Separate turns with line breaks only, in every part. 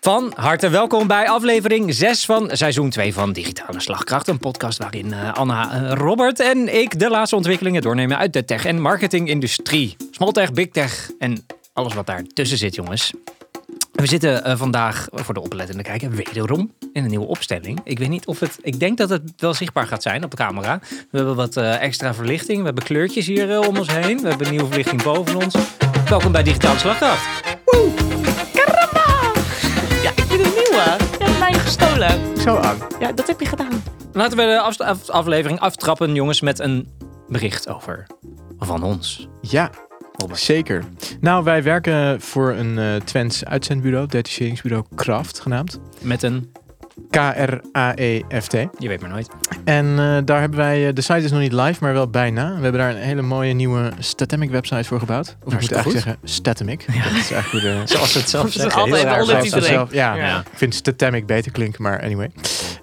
Van harte welkom bij aflevering 6 van seizoen 2 van Digitale Slagkracht. Een podcast waarin eh, Anna, eh, Robert en ik de laatste ontwikkelingen doornemen uit de tech- en marketingindustrie. Smalltech, big tech en alles wat daartussen zit, jongens. We zitten eh, vandaag, voor de oplettende kijker, wederom in een nieuwe opstelling. Ik weet niet of het... Ik denk dat het wel zichtbaar gaat zijn op de camera. We hebben wat eh, extra verlichting. We hebben kleurtjes hier eh, om ons heen. We hebben nieuwe verlichting boven ons. Welkom bij Digitale Slagkracht.
Ja, ik ben een nieuwe. Die hebben mij gestolen. Zo aan. Ja, dat heb je gedaan.
Laten we de afs- af- aflevering aftrappen, jongens, met een bericht over van ons.
Ja,
Robert.
zeker. Nou, wij werken voor een eh Twents uitzendbureau, detacheringsbureau Kraft genaamd.
Met een,
K-R-A-E-F-T.
je weet maar nooit.
E En eh, daar hebben wij, eh, de site is nog niet live, maar wel bijna. We hebben daar een hele mooie nieuwe Statamic website voor gebouwd. Of ik moet
Hartstikke
eigenlijk
goed.
zeggen Statamic. Dat is eigenlijk hoe de...
Zoals ze het zelf
Dat is
zeggen.
altijd
Heel
de
erg
ondertitel.
zelf.
iedereen.
zelf, ja,
Ja.
ik vind Statamic beter klinken, maar anyway.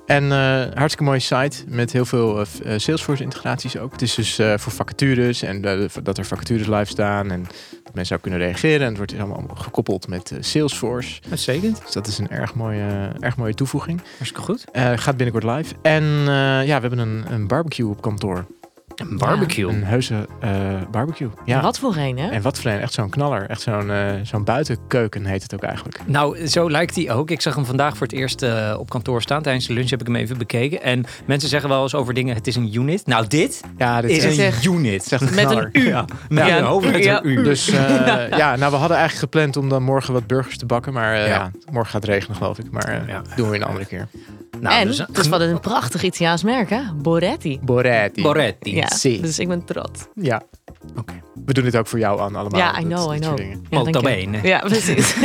En eh, hartstikke mooie site met heel veel eh, f- eh, Salesforce integraties ook. Het is dus eh, voor vacatures en eh, dat er vacatures live staan en dat mensen ook kunnen reageren. En het wordt allemaal gekoppeld met eh, Salesforce.
Uitstekend.
Dus dat is een erg mooie, erg mooie toevoeging.
Hartstikke goed.
Eh, gaat binnenkort live. En eh, ja, we hebben een, een barbecue op kantoor.
Een barbecue.
Een heuse eh, barbecue. Ja.
Wat voor een, hè?
En wat voor een, echt zo'n knaller. Echt zo'n eh, zo'n buitenkeuken heet het ook eigenlijk.
Nou, zo lijkt hij ook. Ik zag hem vandaag voor het eerst eh, op kantoor staan. Tijdens de lunch heb ik hem even bekeken. En mensen zeggen wel eens over dingen, het is een unit. Nou, dit
Ja, dit
is
echt-
een
echt-
unit.
is echt een
Met
knaller.
een U.
Ja, met
Ja.
een hoofdletter
Ja.
U.
Dus eh, ja, nou, we hadden eigenlijk gepland om dan morgen wat burgers te bakken. Maar eh,
Ja.
ja. morgen gaat het regenen, geloof ik. Maar eh,
Ja.
doen we een andere keer.
Nou,
en,
dus-
het is wat een prachtig Italiaans merk, hè? Boretti.
Boretti.
Boretti.
Ja,
sì.
dus ik ben trots.
Ja,
Oké.
we doen dit ook voor jou, Anne, allemaal.
Ja, I
Dat-
know, I
dat soort
know.
dingen.
Ja,
Molto
dank je.
bene.
Ja, precies.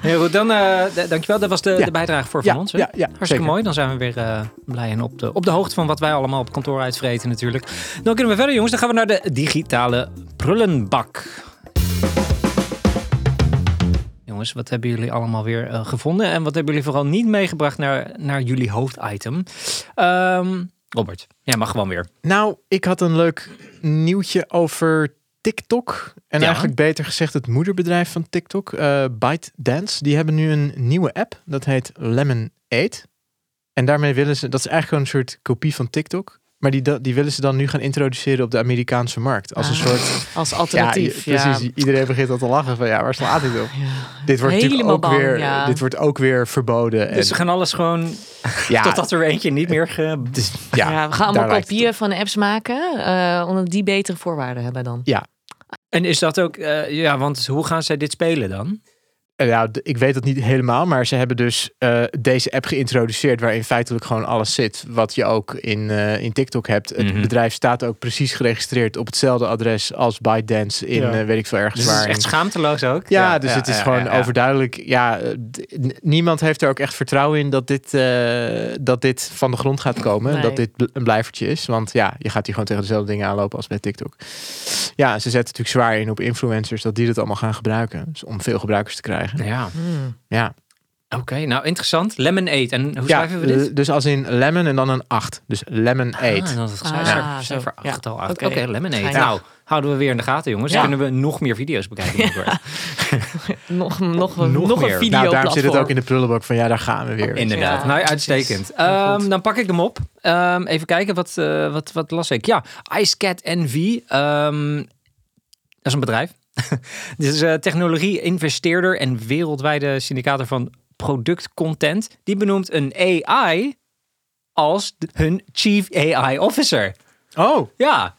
Heel goed, dan eh, d- dankjewel. Dat was de,
Ja.
de bijdrage voor
Ja,
van ons. Hè?
ja, ja,
Hartstikke
zeker.
mooi. Dan zijn we weer eh, blij en op de, op de hoogte van wat wij allemaal op kantoor uitvreten natuurlijk. Dan kunnen we verder jongens. Dan gaan we naar de digitale prullenbak. Jongens, wat hebben jullie allemaal weer eh, gevonden? En wat hebben jullie vooral niet meegebracht naar, naar jullie hoofditem? Ehm, Robert, jij mag gewoon weer.
Nou, ik had een leuk nieuwtje over TikTok. En
Ja.
eigenlijk beter gezegd het moederbedrijf van TikTok, eh ByteDance. Die hebben nu een nieuwe app, dat heet Lemon 8. En daarmee willen ze, dat is eigenlijk gewoon een soort kopie van TikTok. Maar die, da- die willen ze dan nu gaan introduceren op de Amerikaanse markt. Als een
Ah,
soort...
Als alternatief.
Ja, je-
Ja,
precies. Iedereen begint al te lachen van ja, waar slaat dit op? Dit wordt
Helemaal
natuurlijk ook
bang,
weer,
ja.
dit wordt ook weer verboden. En
Dus we gaan alles gewoon,
Eh, ja,
totdat er eentje niet meer... Ge...
het is-
Ja,
ja,
we gaan
daar
allemaal
lijkt het
kopieën van de apps maken, eh, omdat die betere voorwaarden hebben dan.
En is dat ook... eh, ja, want hoe gaan zij dit spelen dan?
Eh, Nou, d- ik weet dat niet helemaal, maar ze hebben dus eh, deze app geïntroduceerd waarin feitelijk gewoon alles zit wat je ook in, eh, in TikTok hebt. Het
Mhm.
bedrijf staat ook precies geregistreerd op hetzelfde adres als ByteDance in
Ja.
eh, weet ik veel ergens
Dus het
waar.
is
in-
echt schaamteloos ook.
ja, dus het is
ja,
gewoon
ja, ja.
overduidelijk. Ja, eh, d- n- niemand heeft er ook echt vertrouwen in dat dit, eh, dat dit van de grond gaat komen. en
Nee.
Dat dit bl- een blijvertje is. Want ja, je gaat hier gewoon tegen dezelfde dingen aanlopen als bij TikTok. Ja, ze zetten natuurlijk zwaar in op influencers dat die dat allemaal gaan gebruiken. Dus om veel gebruikers te krijgen.
Ja,
Hmm.
Ja.
oké. nou, interessant. Lemon Aid. En hoe schrijven we
eh,
dit?
Dus als in lemon en dan een 8. Dus lemon 8.
Ah, dat is het
Ah,
cijfer,
zo.
cijfer
Ja.
8 al acht. Oké,
Oké.
Lemon Aid.
Fijn.
Nou, houden we weer in de gaten, jongens.
Ja.
Dan kunnen we nog meer video's bekijken. Ja.
Nog, nog, nog,
Nog meer.
een video
nou, daarom zit het ook in de prullenbak van ja, daar gaan we weer.
Inderdaad.
Ja,
nou,
precies.
uitstekend.
Heel goed.
Ehm, dan pak ik hem op. Ehm, even kijken, wat, eh, wat, wat las ik? Ja, IceCat NV. Ehm, dat is een bedrijf. Dit is eh, technologie, investeerder en wereldwijde syndicator van productcontent. Die benoemt een AI als de- hun chief AI officer.
Oh,
Ja.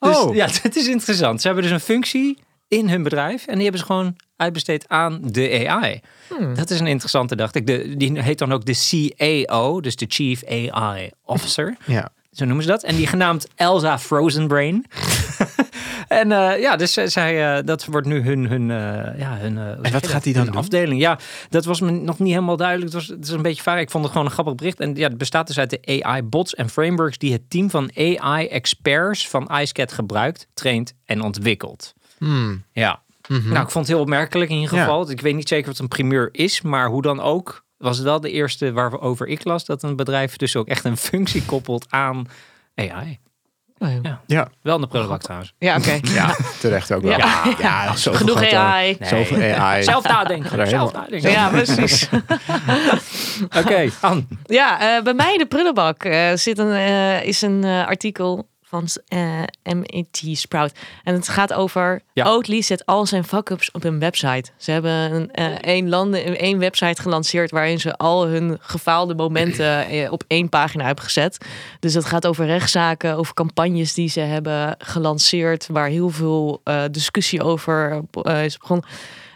Dus,
Oh.
ja, het is interessant. Ze hebben dus een functie in hun bedrijf en die hebben ze gewoon uitbesteed aan de AI. Dat is een interessante, dacht ik. De, die heet dan ook de CAO, dus de Chief AI Officer.
ja.
Zo noemen ze dat. En die genaamd Elsa Frozenbrain. en eh, ja, dus zij- zij, eh, dat wordt nu hun, hun, eh, ja, hun eh, hoe zeg je
wat
dat?
gaat die dan
Hun
doen?
afdeling. Ja, dat was me nog niet helemaal duidelijk. Het was, het is een beetje vaag. Ik vond het gewoon een grappig bericht. En ja, het bestaat dus uit de AI-bots en frameworks die het team van AI-experts van IceCat gebruikt, traint en ontwikkelt.
Hmm.
Ja. Nou, ik vond het heel opmerkelijk in ieder
Ja.
geval. Ik weet niet zeker wat een primeur is, maar hoe dan ook was het wel de eerste waarover ik las dat een bedrijf dus ook echt een functie koppelt aan AI.
Oh, joh.
Ja.
Ja,
Wel in de prullenbak trouwens.
ja, oké.
ja terecht ook wel.
Ja.
Ja, ja, zoveel
Genoeg
gaat er-
AI.
Nee.
Zoveel AI.
Zelf nadenken.
Daar
Zelf
helemaal-
nadenken.
Ja, precies.
Oké, Anne.
Ja, eh, bij mij in de prullenbak eh, zit een, eh, is een eh, artikel van eh MIT Sprout. En het gaat over
Ja.
Oatly zet al zijn fuck-ups op hun website. Ze hebben een, eh, één, landen, één website gelanceerd waarin ze al hun gefaalde momenten eh, op één pagina hebben gezet. Dus dat gaat over rechtszaken, over campagnes die ze hebben gelanceerd, waar heel veel eh, discussie over eh, is begonnen.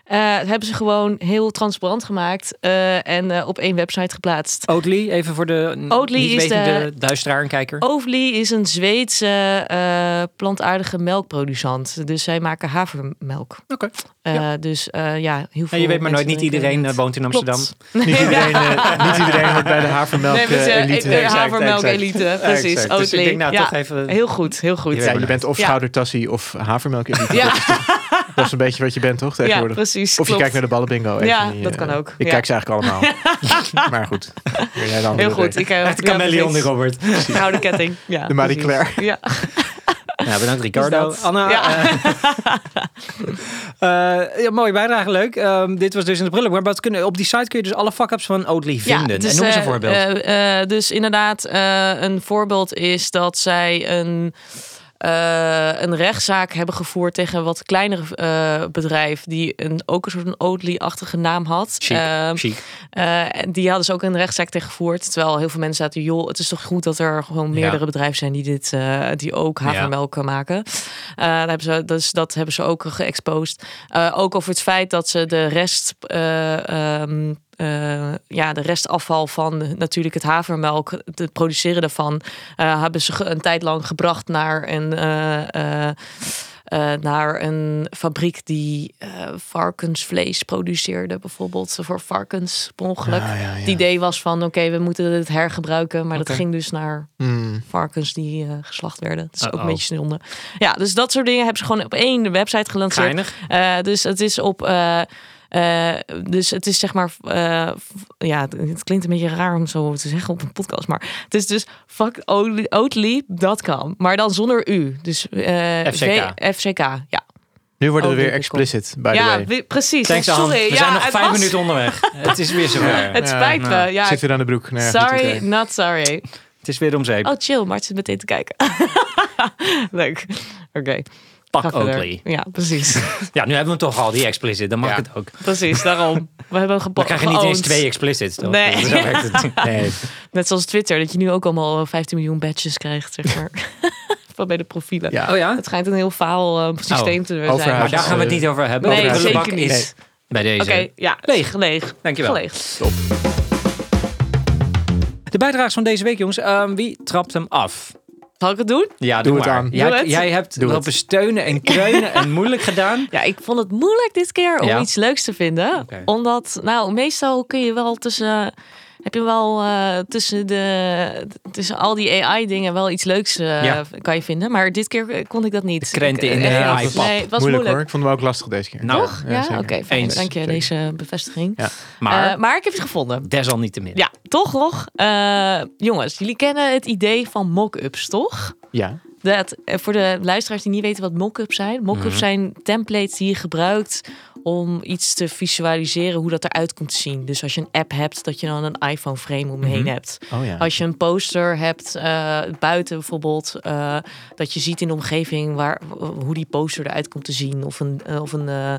Eh, hebben ze gewoon heel transparant gemaakt eh, en eh, op één website geplaatst.
Oatly, even voor de n-
Oatly
niet
is Oh.
wetende duisteraar en kijker.
Ovli is een Zweedse eh, plantaardige melkproducent. Dus zij maken havermelk.
Oké.
Eh, Dus eh, ja, heel veel
En Nou, je weet maar nooit,
mensen
niet
drinken
iedereen eh,
het.
woont in Amsterdam.
Niet iedereen, eh, niet iedereen hoort bij de havermelk
Nee,
eh,
dus, eh,
elite.
ik- eh,
Exact,
havermelk
exact.
elite. Precies,
Exact. Dus ik
Oatly.
denk nou
Ja,
toch even...
Heel goed, heel goed.
Je weet
Ja,
Ja,
maar
je bent of
Ja.
schoudertassie of havermelk elite. Dat is een beetje wat je bent, toch, tegenwoordig?
precies.
Of je
klopt.
kijkt naar de ballenbingo. een
Ja,
van die,
dat
eh,
kan ook.
Ik
Ja.
kijk ze eigenlijk allemaal. maar goed. Jij dan
Heel goed. Ik, eh,
Echt
ja,
chameleon,
precies.
Robert.
Gouden ketting. Ja,
De Marie
precies.
Claire.
Ja.
Ja, bedankt Ricardo.
Dus dat.
Anna,
Ja.
eh, eh, ja, mooie bijdrage, leuk. Ehm, dit was dus in de prullenbak. Maar wat kunnen, op die site kun je dus alle fuck-ups van Oatly vinden.
Ja, dus,
en noem eens een
eh,
voorbeeld.
eh, eh, dus inderdaad, eh, een voorbeeld is dat zij een, eh, een rechtszaak hebben gevoerd tegen een wat kleinere eh, bedrijf. Die een, ook een soort van Oatly-achtige naam had.
Chic,
Ehm,
chic.
eh, en die hadden ze ook een rechtszaak tegen gevoerd. Terwijl heel veel mensen zaten, joh, het is toch goed dat er gewoon meerdere
Ja.
bedrijven zijn die, dit, eh, die ook havermelk maken. Eh, daar hebben ze, dus dat hebben ze ook geëxposed. Eh, ook over het feit dat ze de rest. eh, ehm, eh, ja, de restafval van natuurlijk het havermelk, het produceren daarvan, eh, hebben ze ge- een tijd lang gebracht naar een, eh, eh, eh, naar een fabriek die eh, varkensvlees produceerde, bijvoorbeeld voor varkens per ongeluk.
Ah, ja, ja.
Het idee was van oké, we moeten het hergebruiken, maar
Oké.
dat ging dus naar
Hmm.
varkens die eh, geslacht werden. Dat is ook
Uh-oh.
een beetje zonde. Ja, dus dat soort dingen hebben ze gewoon op één website gelanceerd.
Geinig.
Eh, dus het is op. eh, eh, dus het is zeg maar, eh, f- ja, het- het klinkt een beetje raar om zo te zeggen op een podcast, maar het is dus fuckoatly.com, maar dan zonder u. Dus eh,
FCK.
V- FCK, ja.
Nu worden
Oh,
we weer
dit is cool.
explicit, by the
ja,
way.
we- precies.
Thanks, Anne.
Sorry,
We
ja,
zijn nog
het
vijf
was-
minuten onderweg. het is weer zover.
Het spijt me.
nou,
Ja,
Zit weer aan de broek. Nee, goed,
sorry,
oké.
not sorry.
Het is weer om zeep.
Oh, chill, Mart zit meteen te kijken. Leuk. Oké.
Pak
ga verder.
Oatly.
Ja, precies.
Ja, nu hebben we hem toch al, die explicit. Dan mag
Ja.
het ook.
Precies, daarom. We hebben hem
Dan
gepakt.
krijg je niet eens twee explicits. toch?
Nee.
Zo werkt het. Nee.
Net zoals Twitter, dat je nu ook allemaal eh, 15 miljoen badges krijgt, zeg maar. Van bij de profielen.
Ja.
Oh ja? Oh,
Het schijnt een heel faal eh, systeem te zijn.
overhaal.
Maar daar gaan we het niet over hebben.
Nee,
de prullenbak
zeker niet.
is bij deze.
Oké, ja.
Leeg.
Leeg.
Dankjewel.
Leeg.
De bijdrage van deze week, jongens. Ehm, wie trapt hem af?
Zal ik het doen?
Ja,
Doe
doe,
het
maar.
aan.
Jij,
Doe het.
jij hebt
Doe
lopen steunen en kreunen en moeilijk gedaan.
Ja, ik vond het moeilijk dit keer om
Ja.
iets leuks te vinden.
Oké.
Omdat, nou, meestal kun je wel tussen... eh, Heb je wel eh, tussen, de, tussen al die AI-dingen wel iets leuks eh,
Ja.
kan je vinden. Maar dit keer eh, kon ik dat niet.
krenten
Ik-
in
eh,
de
echt,
AI-pap.
Nee, het was
moeilijk,
moeilijk.
hoor. Ik vond hem ook lastig deze keer.
Nou,
Toch? Ja,
zeker.
oké. fijn.
Eens.
Dank je,
Zeker.
deze bevestiging.
Ja.
Maar,
Eh, maar ik heb het gevonden.
desalniettemin.
Ja, toch nog. Eh, jongens, jullie kennen het idee van mock-ups, toch?
Ja.
Dat, eh, voor de luisteraars die niet weten wat mock-ups zijn. Mock-ups
Mhm.
zijn templates die je gebruikt om iets te visualiseren hoe dat eruit komt te zien. Dus als je een app hebt, dat je dan een iPhone frame omheen
Mhm.
hebt.
Oh ja.
Als je een poster hebt eh, buiten bijvoorbeeld, eh, dat je ziet in de omgeving waar, hoe die poster eruit komt te zien. Of een, eh, of een eh,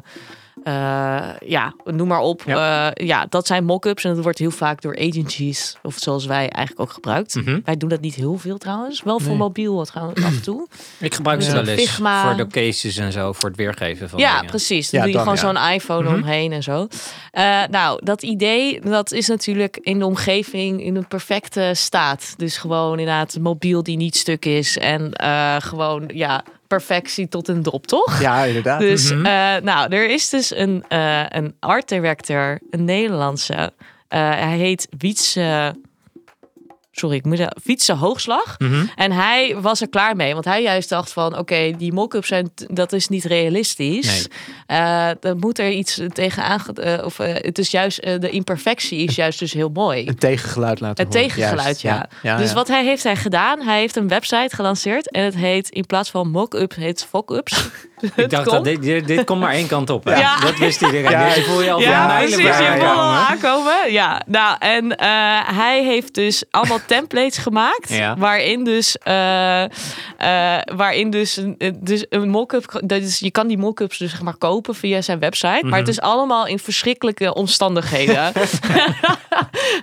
eh, ja, noem maar op. Ja, ja dat zijn mock-ups en dat wordt heel vaak door agencies, of zoals wij eigenlijk ook gebruikt.
Mhm.
Wij doen dat niet heel veel trouwens. Wel voor
Nee.
mobiel wat trouwens af en toe.
Ik gebruik ze
Ja.
wel eens
Figma.
voor de cases en zo, voor het weergeven van
Ja,
dingen.
precies.
Ja,
Dan doe je
dan,
gewoon
ja.
zo'n iPhone
Mhm.
omheen en zo. Eh, nou, dat idee, dat is natuurlijk in de omgeving in een perfecte staat. Dus gewoon inderdaad mobiel die niet stuk is. En eh, gewoon, ja, perfectie tot een dop, toch?
Ja, inderdaad.
Dus,
Mhm.
eh, nou, er is dus een, eh, een art director, een Nederlandse. Eh, hij heet Wietse sorry, ik moet zeggen, fietsen hoogslag.
Mhm.
En hij was er klaar mee, want hij juist dacht van, oké, die mock-ups zijn, dat is niet realistisch.
Nee.
Eh, dan moet er iets tegenaan, ge- eh, of eh, het is juist, eh, de imperfectie is juist dus heel mooi.
Een tegengeluid laten
Het
horen.
tegengeluid,
Juist,
ja.
ja
dus
ja.
wat hij heeft hij gedaan? Hij heeft een website gelanceerd en het heet in plaats van mock-ups heet het fuck-ups.
Ik dacht, dat
komt.
dit, dit, dit komt maar één kant op. Hè?
Ja.
Dat wist iedereen.
Ja.
Deze voel je al
ja,
van mijlen
precies.
ver
Je
ja,
kon al
aankomen.
aankomen. Ja, nou, en eh, hij heeft dus allemaal templates gemaakt.
Ja.
Waarin dus, eh, eh, waarin dus, een- eh, dus een mock-up. dat is- Je kan die mock-ups dus zeg maar kopen via zijn website. Maar
Mhm.
het is allemaal in verschrikkelijke omstandigheden.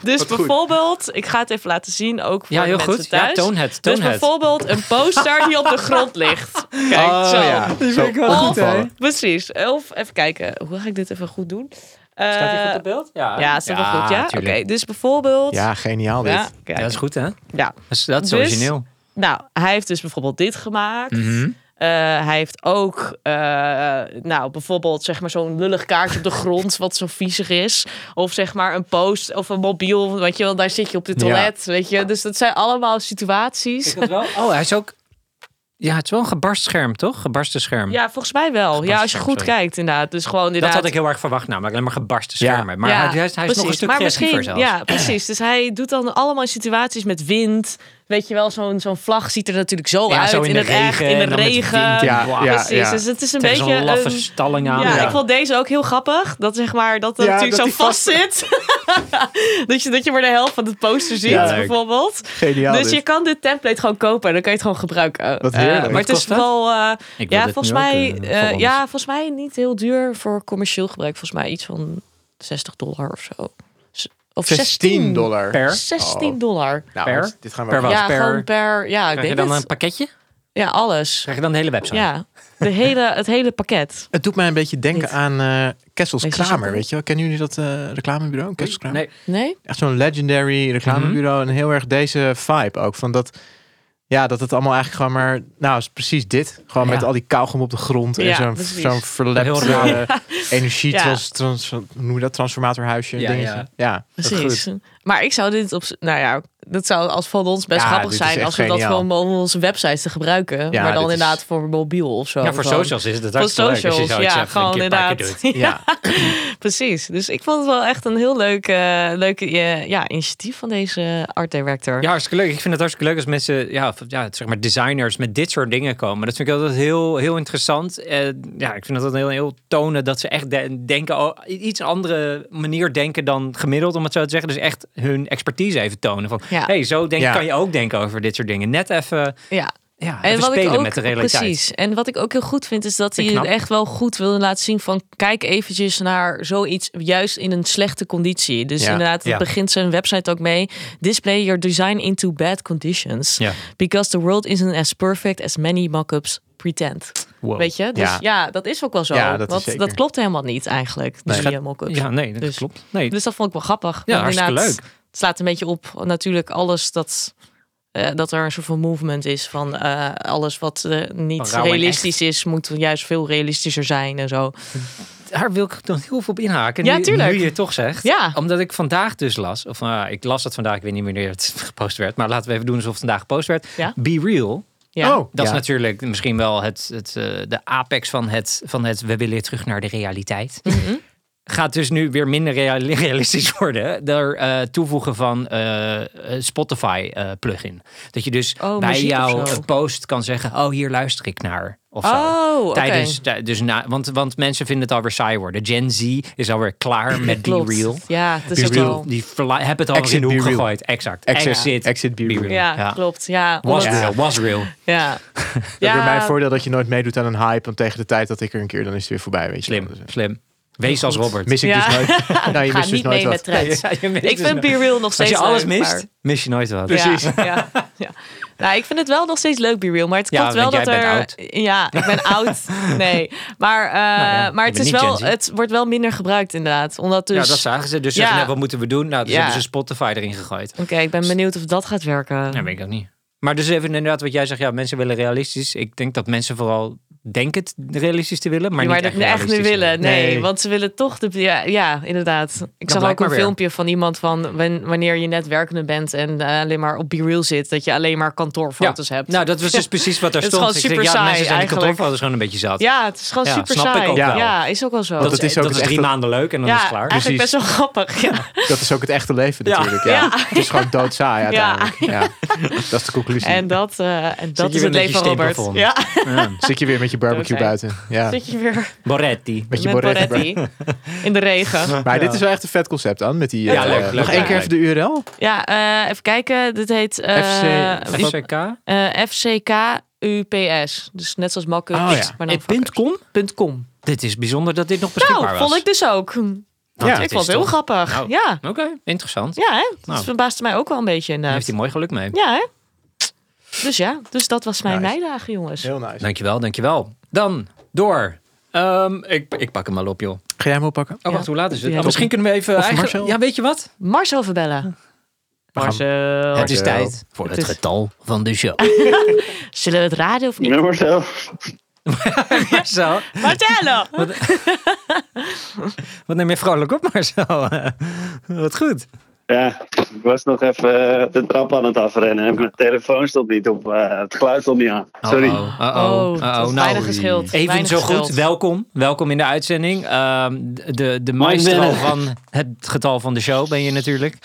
dus
goed.
bijvoorbeeld, ik ga het even laten zien. Ook voor
Ja, heel
de mensen
goed.
Thuis.
Ja, toon het. Toon
Dus
het.
bijvoorbeeld een poster die op de grond ligt. Kijk,
Oh,
zo.
ja.
Die
Zo
vind ik wel goed, hè?
opvallen.
Precies. Of even kijken, hoe ga ik dit even goed doen?
Staat hij
Eh,
goed op beeld?
Ja, staat wel goed, ja? Oké,
tuurlijk.
dus bijvoorbeeld...
Ja, geniaal dit.
Ja,
Ja,
kijk.
dat is goed, hè?
Ja.
Dat is, dat is
Dus-
origineel.
Nou, hij heeft dus bijvoorbeeld dit gemaakt.
Mhm.
Eh, hij heeft ook, eh, nou, bijvoorbeeld zeg maar zo'n lullig kaartje op de grond, wat zo viezig is. Of zeg maar een post of een mobiel, weet je wel, daar zit je op de toilet, weet je. Dus dat zijn allemaal situaties.
Oh, hij is ook... Ja, het is wel een gebarst scherm, toch? Gebarsten scherm.
Ja, volgens mij wel. Ja, als je goed
Sorry.
kijkt inderdaad. Dus gewoon
dat
inderdaad...
had ik heel erg verwacht, namelijk alleen maar gebarsten
Ja.
schermen. Maar hij, hij is, hij is nog een stuk
maar
creatiever
misschien,
zelfs.
Ja, precies. Dus hij doet dan allemaal situaties met wind. Weet je wel, zo'n zo'n vlag ziet er natuurlijk zo
Ja,
uit.
zo in de
het echt,
regen
in
en
de
dan met
regen.
wind.
Ja,
Wauw.
ja,
Precies,
ja.
dus het is een
Tegen
beetje
zo'n laffe
een-
stalling aan.
ja,
ja.
ik vond deze ook heel grappig. Dat zeg maar dat het
Ja,
natuurlijk
dat
zo
die
vast zit. dat, je, dat je maar de helft van het poster ziet,
Ja, leuk.
bijvoorbeeld.
Geniaal
dus
dit.
je kan dit template gewoon kopen en dan kan je het gewoon gebruiken.
Wat
Eh,
heerlijk.
maar
Wat
het is
kost dat?
wel. eh,
Ik wil
ja,
dit
volgens
nu ook,
mij,
eh,
eh,
voor ons.
ja, volgens mij niet heel duur voor commercieel gebruik. Volgens mij iets van 60 dollar of zo. S- Of
16 dollar.
Per?
16 dollar.
Nou,
Per?
dit- Dit gaan we
Per
ook
wat?
Ja,
per-
gewoon per. Ja, ik
Krijg je
denk
dan
het.
een pakketje?
Ja, alles.
Krijg je dan de hele website?
Ja, de hele, het hele pakket.
Het doet mij een beetje denken
Niet.
aan eh Kessels
Deze
Kramer,
zakken.
weet je wel. Kennen jullie dat eh, reclamebureau? Kessels Kramer?
Nee.
Nee?
Echt zo'n legendary reclamebureau. En heel erg deze vibe ook. Van dat, ja, dat het allemaal eigenlijk gewoon maar... Nou, is precies dit. Gewoon met
Ja.
al die kauwgom op de grond. En
Ja,
zo'n,
precies.
zo'n verlept
Heel raar.
eh, energie...
Ja.
Trans, trans- hoe noem je dat? Transformatorhuisje?
Ja,
dingetje.
ja.
ja.
Precies. Maar ik zou dit op. z- Nou ja, dat zou als van ons best
Ja,
grappig
dit is
zijn
echt
als we dat
geniaal.
gewoon om onze website te gebruiken.
Ja,
maar dan
dit is-
inderdaad voor mobiel of zo.
Ja, voor
Gewoon-
socials is het
Voor
hartstikke leuk. als je
socials,
zoiets
ja,
hebt en een
gewoon
keer een paar keer
inderdaad.
doet.
Ja,
Precies. Dus ik vond het wel echt een heel leuk, eh, leuk eh, ja, initiatief van deze art director.
Ja, hartstikke leuk. Ik vind het hartstikke leuk als mensen, ja, of- ja, zeg maar designers met dit soort dingen komen. Dat vind ik altijd heel, heel interessant. Eh, ja, ik vind dat altijd heel, heel tonen dat ze echt de- denken, oh, iets andere manier denken dan gemiddeld, om het zo te zeggen. Dus echt hun expertise even tonen. Van,
Ja.
hey, zo denk,
Ja.
kan je ook denken over dit soort dingen. Net even,
Ja.
ja, even spelen met de realiteit.
Precies. En wat ik ook heel goed vind, is dat
Vind
hij
ik
het
knap.
echt wel goed wilde laten zien van kijk eventjes naar zoiets juist in een slechte conditie. Dus
Ja,
inderdaad, het
ja.
begint zijn website ook mee. Display your design into bad conditions.
Ja.
Because the world isn't as perfect as many mock-ups pretend.
Wow.
Weet je? Dus ja.
Ja.
dat is ook wel zo.
Ja, dat is
Want
zeker.
dat klopt helemaal niet eigenlijk, die
Nee.
eh, mock-ups.
Ja, nee, dat
Dus-
klopt. Nee,
Dus dat vond ik wel grappig.
Ja,
Want
hartstikke
inderdaad,
leuk.
Het slaat een beetje op natuurlijk alles dat, eh, dat er een soort van movement is van eh, alles wat eh,
Van
niet
rauw en
realistisch is, moet juist veel realistischer zijn en zo.
daar wil ik dan heel veel op inhaken.
Ja,
nu,
tuurlijk.
Nu je het toch zegt.
Ja.
Omdat ik vandaag dus las, of nou, ik las dat vandaag, ik weet niet meer wanneer het gepost werd, maar laten we even doen alsof het vandaag gepost werd.
Ja.
Be real.
Ja.
Oh,
Dat
ja.
is natuurlijk misschien wel het, het, eh, de apex van het, van het we willen terug naar de realiteit.
Mhm.
Gaat dus nu weer minder reali- realistisch worden. Door eh, toevoegen van eh, eh, Spotify eh, plugin. Dat je dus
Oh,
bij
muziek of
jouw
zo.
eh, post kan zeggen: Oh, hier luister ik naar. Of zo.
Oh, oké.
Tijdens, tij- dus na, want, want mensen vinden het alweer saai worden. Gen Z is alweer klaar met Be
Klopt.
Real.
Ja, het is
Dus
ook
die,
wel.
die verla- hebben het al
Exit
in de
Be
hoek
Real.
gegooid. Exact.
Exit-
Exit,
Exit Be Real.
Ja,
Ja.
klopt. Ja,
Was
omdat-
real, was real.
Ja.
Dat is
Ja,
bij mij een voordeel dat je nooit meedoet aan een hype. Want tegen de tijd dat ik er een keer, dan is het weer voorbij. Weet je.
Slim,
wel. Dus,
slim. Wees als Robert.
eh, Mis ik
Ja.
dus nooit. nou, je
Ga
mist dus
niet
nooit
mee
wat.
met trends.
Ja, je mist
ik
dus
vind
nooit-
Be Real nog
Als
steeds
je alles
leuk,
mist,
maar-
mis je nooit wat.
Ja, ja, ja. Nou, ik vind het wel nog steeds leuk, Be Real. Maar het
Ja,
klopt wel
want jij
dat er...
bent
Ja, ik ben oud. Nee. Maar, eh,
Nou ja, je
maar het,
bent
is
niet Gen
wel,
Z.
het wordt wel minder gebruikt, inderdaad. Omdat dus...
Ja, dat zagen ze. Dus ze zeggen,
Ja.
nou, wat moeten we doen? Nou, dus
Ja.
hebben ze Spotify erin gegooid.
Oké, ik ben benieuwd of dat gaat werken.
Nou, weet ik ook niet. Maar dus even inderdaad wat jij zegt, ja, mensen willen realistisch. Ik denk dat mensen vooral denken het realistisch te willen, maar,
maar
niet
dat
echt,
we echt niet
realistisch
willen. Nee,
Nee.
want ze willen toch de. Ja, ja inderdaad. Ik
Dat
zag
blijkt
ook een
maar weer.
filmpje van iemand van wen- wanneer je net werkende bent en eh, alleen maar op B-Real zit, dat je alleen maar kantoorfoto's hebt.
Nou, dat was dus precies wat er
Het is
stond.
gewoon
ik
super
denk, ja,
saai
mensen zijn die
eigenlijk.
kantoorfoto's gewoon een beetje zat.
ja, het is gewoon
Ja,
super
snap ik
saai.
ook
ja.
wel.
is ook wel zo.
dat,
het
is,
is ook
dat is
dus echt Dus-
drie
dat-
maanden leuk en dan
ja,
is het klaar.
eigenlijk
Precies.
best wel grappig. Ja.
Dat is ook het echte leven
Ja.
natuurlijk. Ja.
Ja.
Het is gewoon doodsaai uiteindelijk. Ja. Dat is de conclusie.
En dat, eh, en dat
je
is
weer
het
met
leven
je
van Robert.
steenplafond?
Ja,
Ja.
Zit je weer met je barbecue
Doodsaai.
buiten. Ja.
zit je weer
Boretti.
Met je
met
Boretti.
Boretti in de regen.
Maar dit is wel echt een vet concept aan. Met die,
Ja,
eh,
leuk, leuk,
nog één
leuk,
keer
leuk.
even de URL.
Ja, eh, even kijken. Dit heet eh,
FC
wat-
FCK.
eh, FCK UPS. Dus net zoals Makken.
Oh ja.
maar dan
En punt com?
Punt .com.
Dit is bijzonder dat dit nog beschikbaar
Nou,
was.
vond ik dus ook.
Nou,
Ja.
dit
ik vond
is
het heel
toch-
grappig.
Nou.
Ja,
Oké, interessant.
ja hè? dat
Nou.
verbaasde mij ook wel een beetje.
Daar
Inderdaad.
heeft hij mooi geluk mee.
Ja, hè? Dus ja, dus dat was mijn
Nice.
meidagen, jongens.
Heel nice.
Dankjewel, dankjewel. Dan door. Ehm, ik, ik pak hem al op, joh. Oh,
Ga jij hem oppakken?
Ja.
wacht, hoe laat is het?
Ja.
Oh, misschien kunnen we even...
Of
eigenlijk-
Marcel?
Ja, weet je wat?
Marcel verbellen.
We gaan-
Marcel.
het is
Marcel.
tijd voor het,
Het is-
getal van de show.
Zullen we het raden of niet?
Ja, Marcel.
Marcel,
Marcello!
wat neem je vrolijk op, Marcel? wat goed.
Ja, ik was nog even eh, de trap aan het afrennen. En mijn telefoon stond niet op. eh, het geluid stond niet aan. Sorry.
Uh-oh, uh-oh,
Oh,
uh-oh.
dat is
Nou,
weinig geschild.
Even
weinig
zo
geschild.
goed, welkom. Welkom in de uitzending. Ehm, de de maestro
Bennett.
van het getal van de show ben je natuurlijk.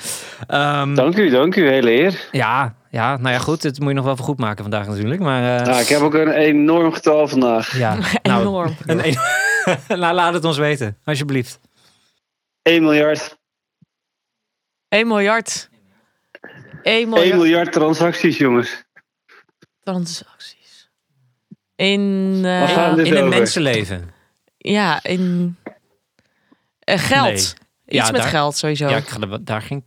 Ehm,
Dank u, dank u, hele eer.
ja, ja, nou ja, goed. Het moet je nog wel voor goed maken vandaag natuurlijk. Maar eh,
Nou, ik heb ook een enorm getal vandaag.
ja, nou,
Enorm.
een en- Nou, laat het ons weten, alsjeblieft.
1 miljard.
1 miljard. 1 miljard,
1 miljard transacties, jongens.
transacties. In, eh,
Waar gaan we dit
in een
over?
mensenleven.
ja, in eh, geld.
Nee.
Iets
Ja,
met
daar-
geld sowieso.
Ja, ik ga er- daar ging.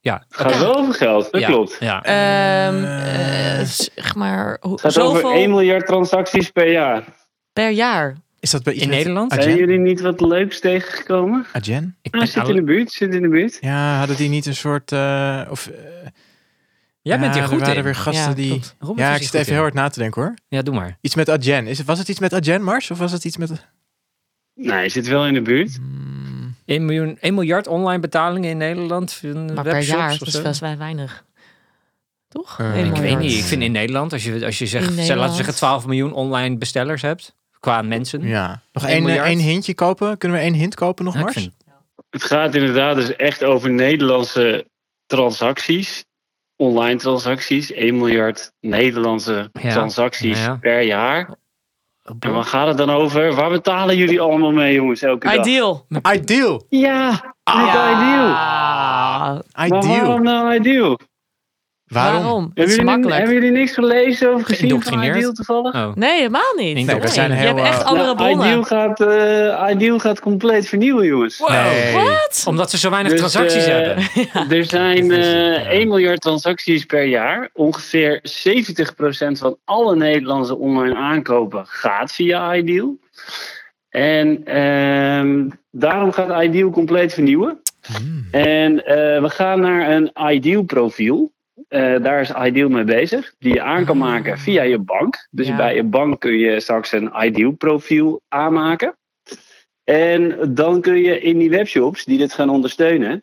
Ja,
Het gaat wel over geld, dat
ja,
klopt.
Ja.
Ehm, eh, zeg maar, hoe-
Het gaat
zoveel
over 1 miljard transacties per jaar.
per jaar.
Is dat bij iets
In
met-
Nederland?
Agen?
Zijn jullie niet wat leuks tegengekomen?
Agen?
Ik
Ah,
ben
zit in
oude-
de buurt, zit in de buurt.
Ja, hadden die niet een soort... eh, of, eh,
Jij bent
ja,
hier
er
goed
waren
in.
weer gasten
Ja,
die...
klopt.
Robert
Ja,
is
ik
hier
zit
goed
even
in.
heel hard na te denken hoor.
Ja, doe maar.
Iets met Agen. Is, het- was het iets met Agen, Mars? Of was het iets met...
Nee, je zit wel in de buurt.
1, miljoen, 1 miljard online betalingen in Nederland. in
Maar per
webshops
jaar,
of
dat is
zo.
best wel weinig. Toch?
Eh,
Eén
Ik weet
miljard.
niet. Ik vind in Nederland, als je, als je
In
zegt, zeg, laten
Nederland.
we zeggen 12 miljoen online bestellers hebt. Qua mensen.
Ja. Nog
Eén
één, eh,
miljard?
één hintje kopen? Kunnen we één hint kopen nog,
Ja, ik
Mars?
vind-
Het gaat inderdaad dus echt over Nederlandse transacties. Online transacties. 1 miljard Nederlandse
Ja,
transacties
ja.
per jaar. En waar gaat het dan over? Waar betalen jullie allemaal mee, jongens, elke dag?
Ideal.
nou,
Ideal!
Ja, niet ideal.
Ah,
Maar
Ideal!
waarom nou ideal?
Waarom?
Het
Hebben
is
jullie,
makkelijk.
hebben jullie niks gelezen of gezien van
Geïndoctrineerd?
ideal toevallig?
Oh.
Nee, helemaal niet.
Nee,
we zijn
je
heel,
hebt echt
eh,
andere
Nou,
bronnen.
Ideal gaat, eh, ideal gaat compleet vernieuwen, jongens.
Wow.
Nee.
Wat?
Omdat ze zo weinig
Dus,
transacties
eh,
hebben.
Er zijn
Dat is het,
eh,
ja.
1 miljard transacties per jaar. Ongeveer 70% van alle Nederlandse online aankopen gaat via Ideal. En ehm, daarom gaat Ideal compleet vernieuwen.
Hmm.
En eh, we gaan naar een Ideal profiel. Eh, daar is Ideal mee bezig. Die je aan
Ah.
kan maken via je bank. Dus
Ja.
bij je bank kun je straks een Ideal profiel aanmaken. En dan kun je in die webshops die dit gaan ondersteunen,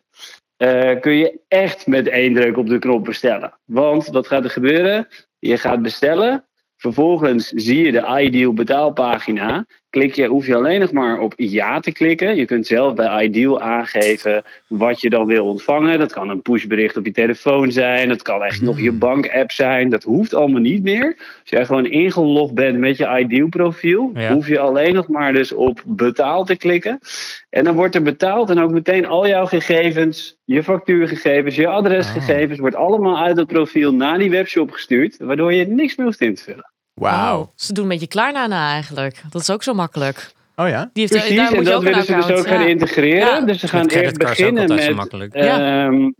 eh, kun je echt met één druk op de knop bestellen. Want wat gaat er gebeuren? Je gaat bestellen. Vervolgens zie je de Ideal betaalpagina. Klik je, hoef je alleen nog maar op ja te klikken. Je kunt zelf bij Ideal aangeven wat je dan wil ontvangen. Dat kan een pushbericht op je telefoon zijn. Dat kan echt nog je bankapp zijn. Dat hoeft allemaal niet meer. Als jij gewoon ingelogd bent met je Ideal profiel,
Ja.
hoef je alleen nog maar dus op betaal te klikken. En dan wordt er betaald en ook meteen al jouw gegevens, je factuurgegevens, je adresgegevens, wordt allemaal uit het profiel naar die webshop gestuurd, waardoor je niks meer hoeft in te vullen.
Wauw.
Oh, Ze doen met je klaarnana eigenlijk. Dat is ook zo makkelijk.
Oh ja?
Die heeft,
Precies,
daar
en
moet je
dat
ook een
willen ze dus
account.
ook gaan
ja.
integreren.
Ja.
Dus ze gaan eerst
creditcards ook
beginnen
altijd zo
met
makkelijk.
Ja.
ehm,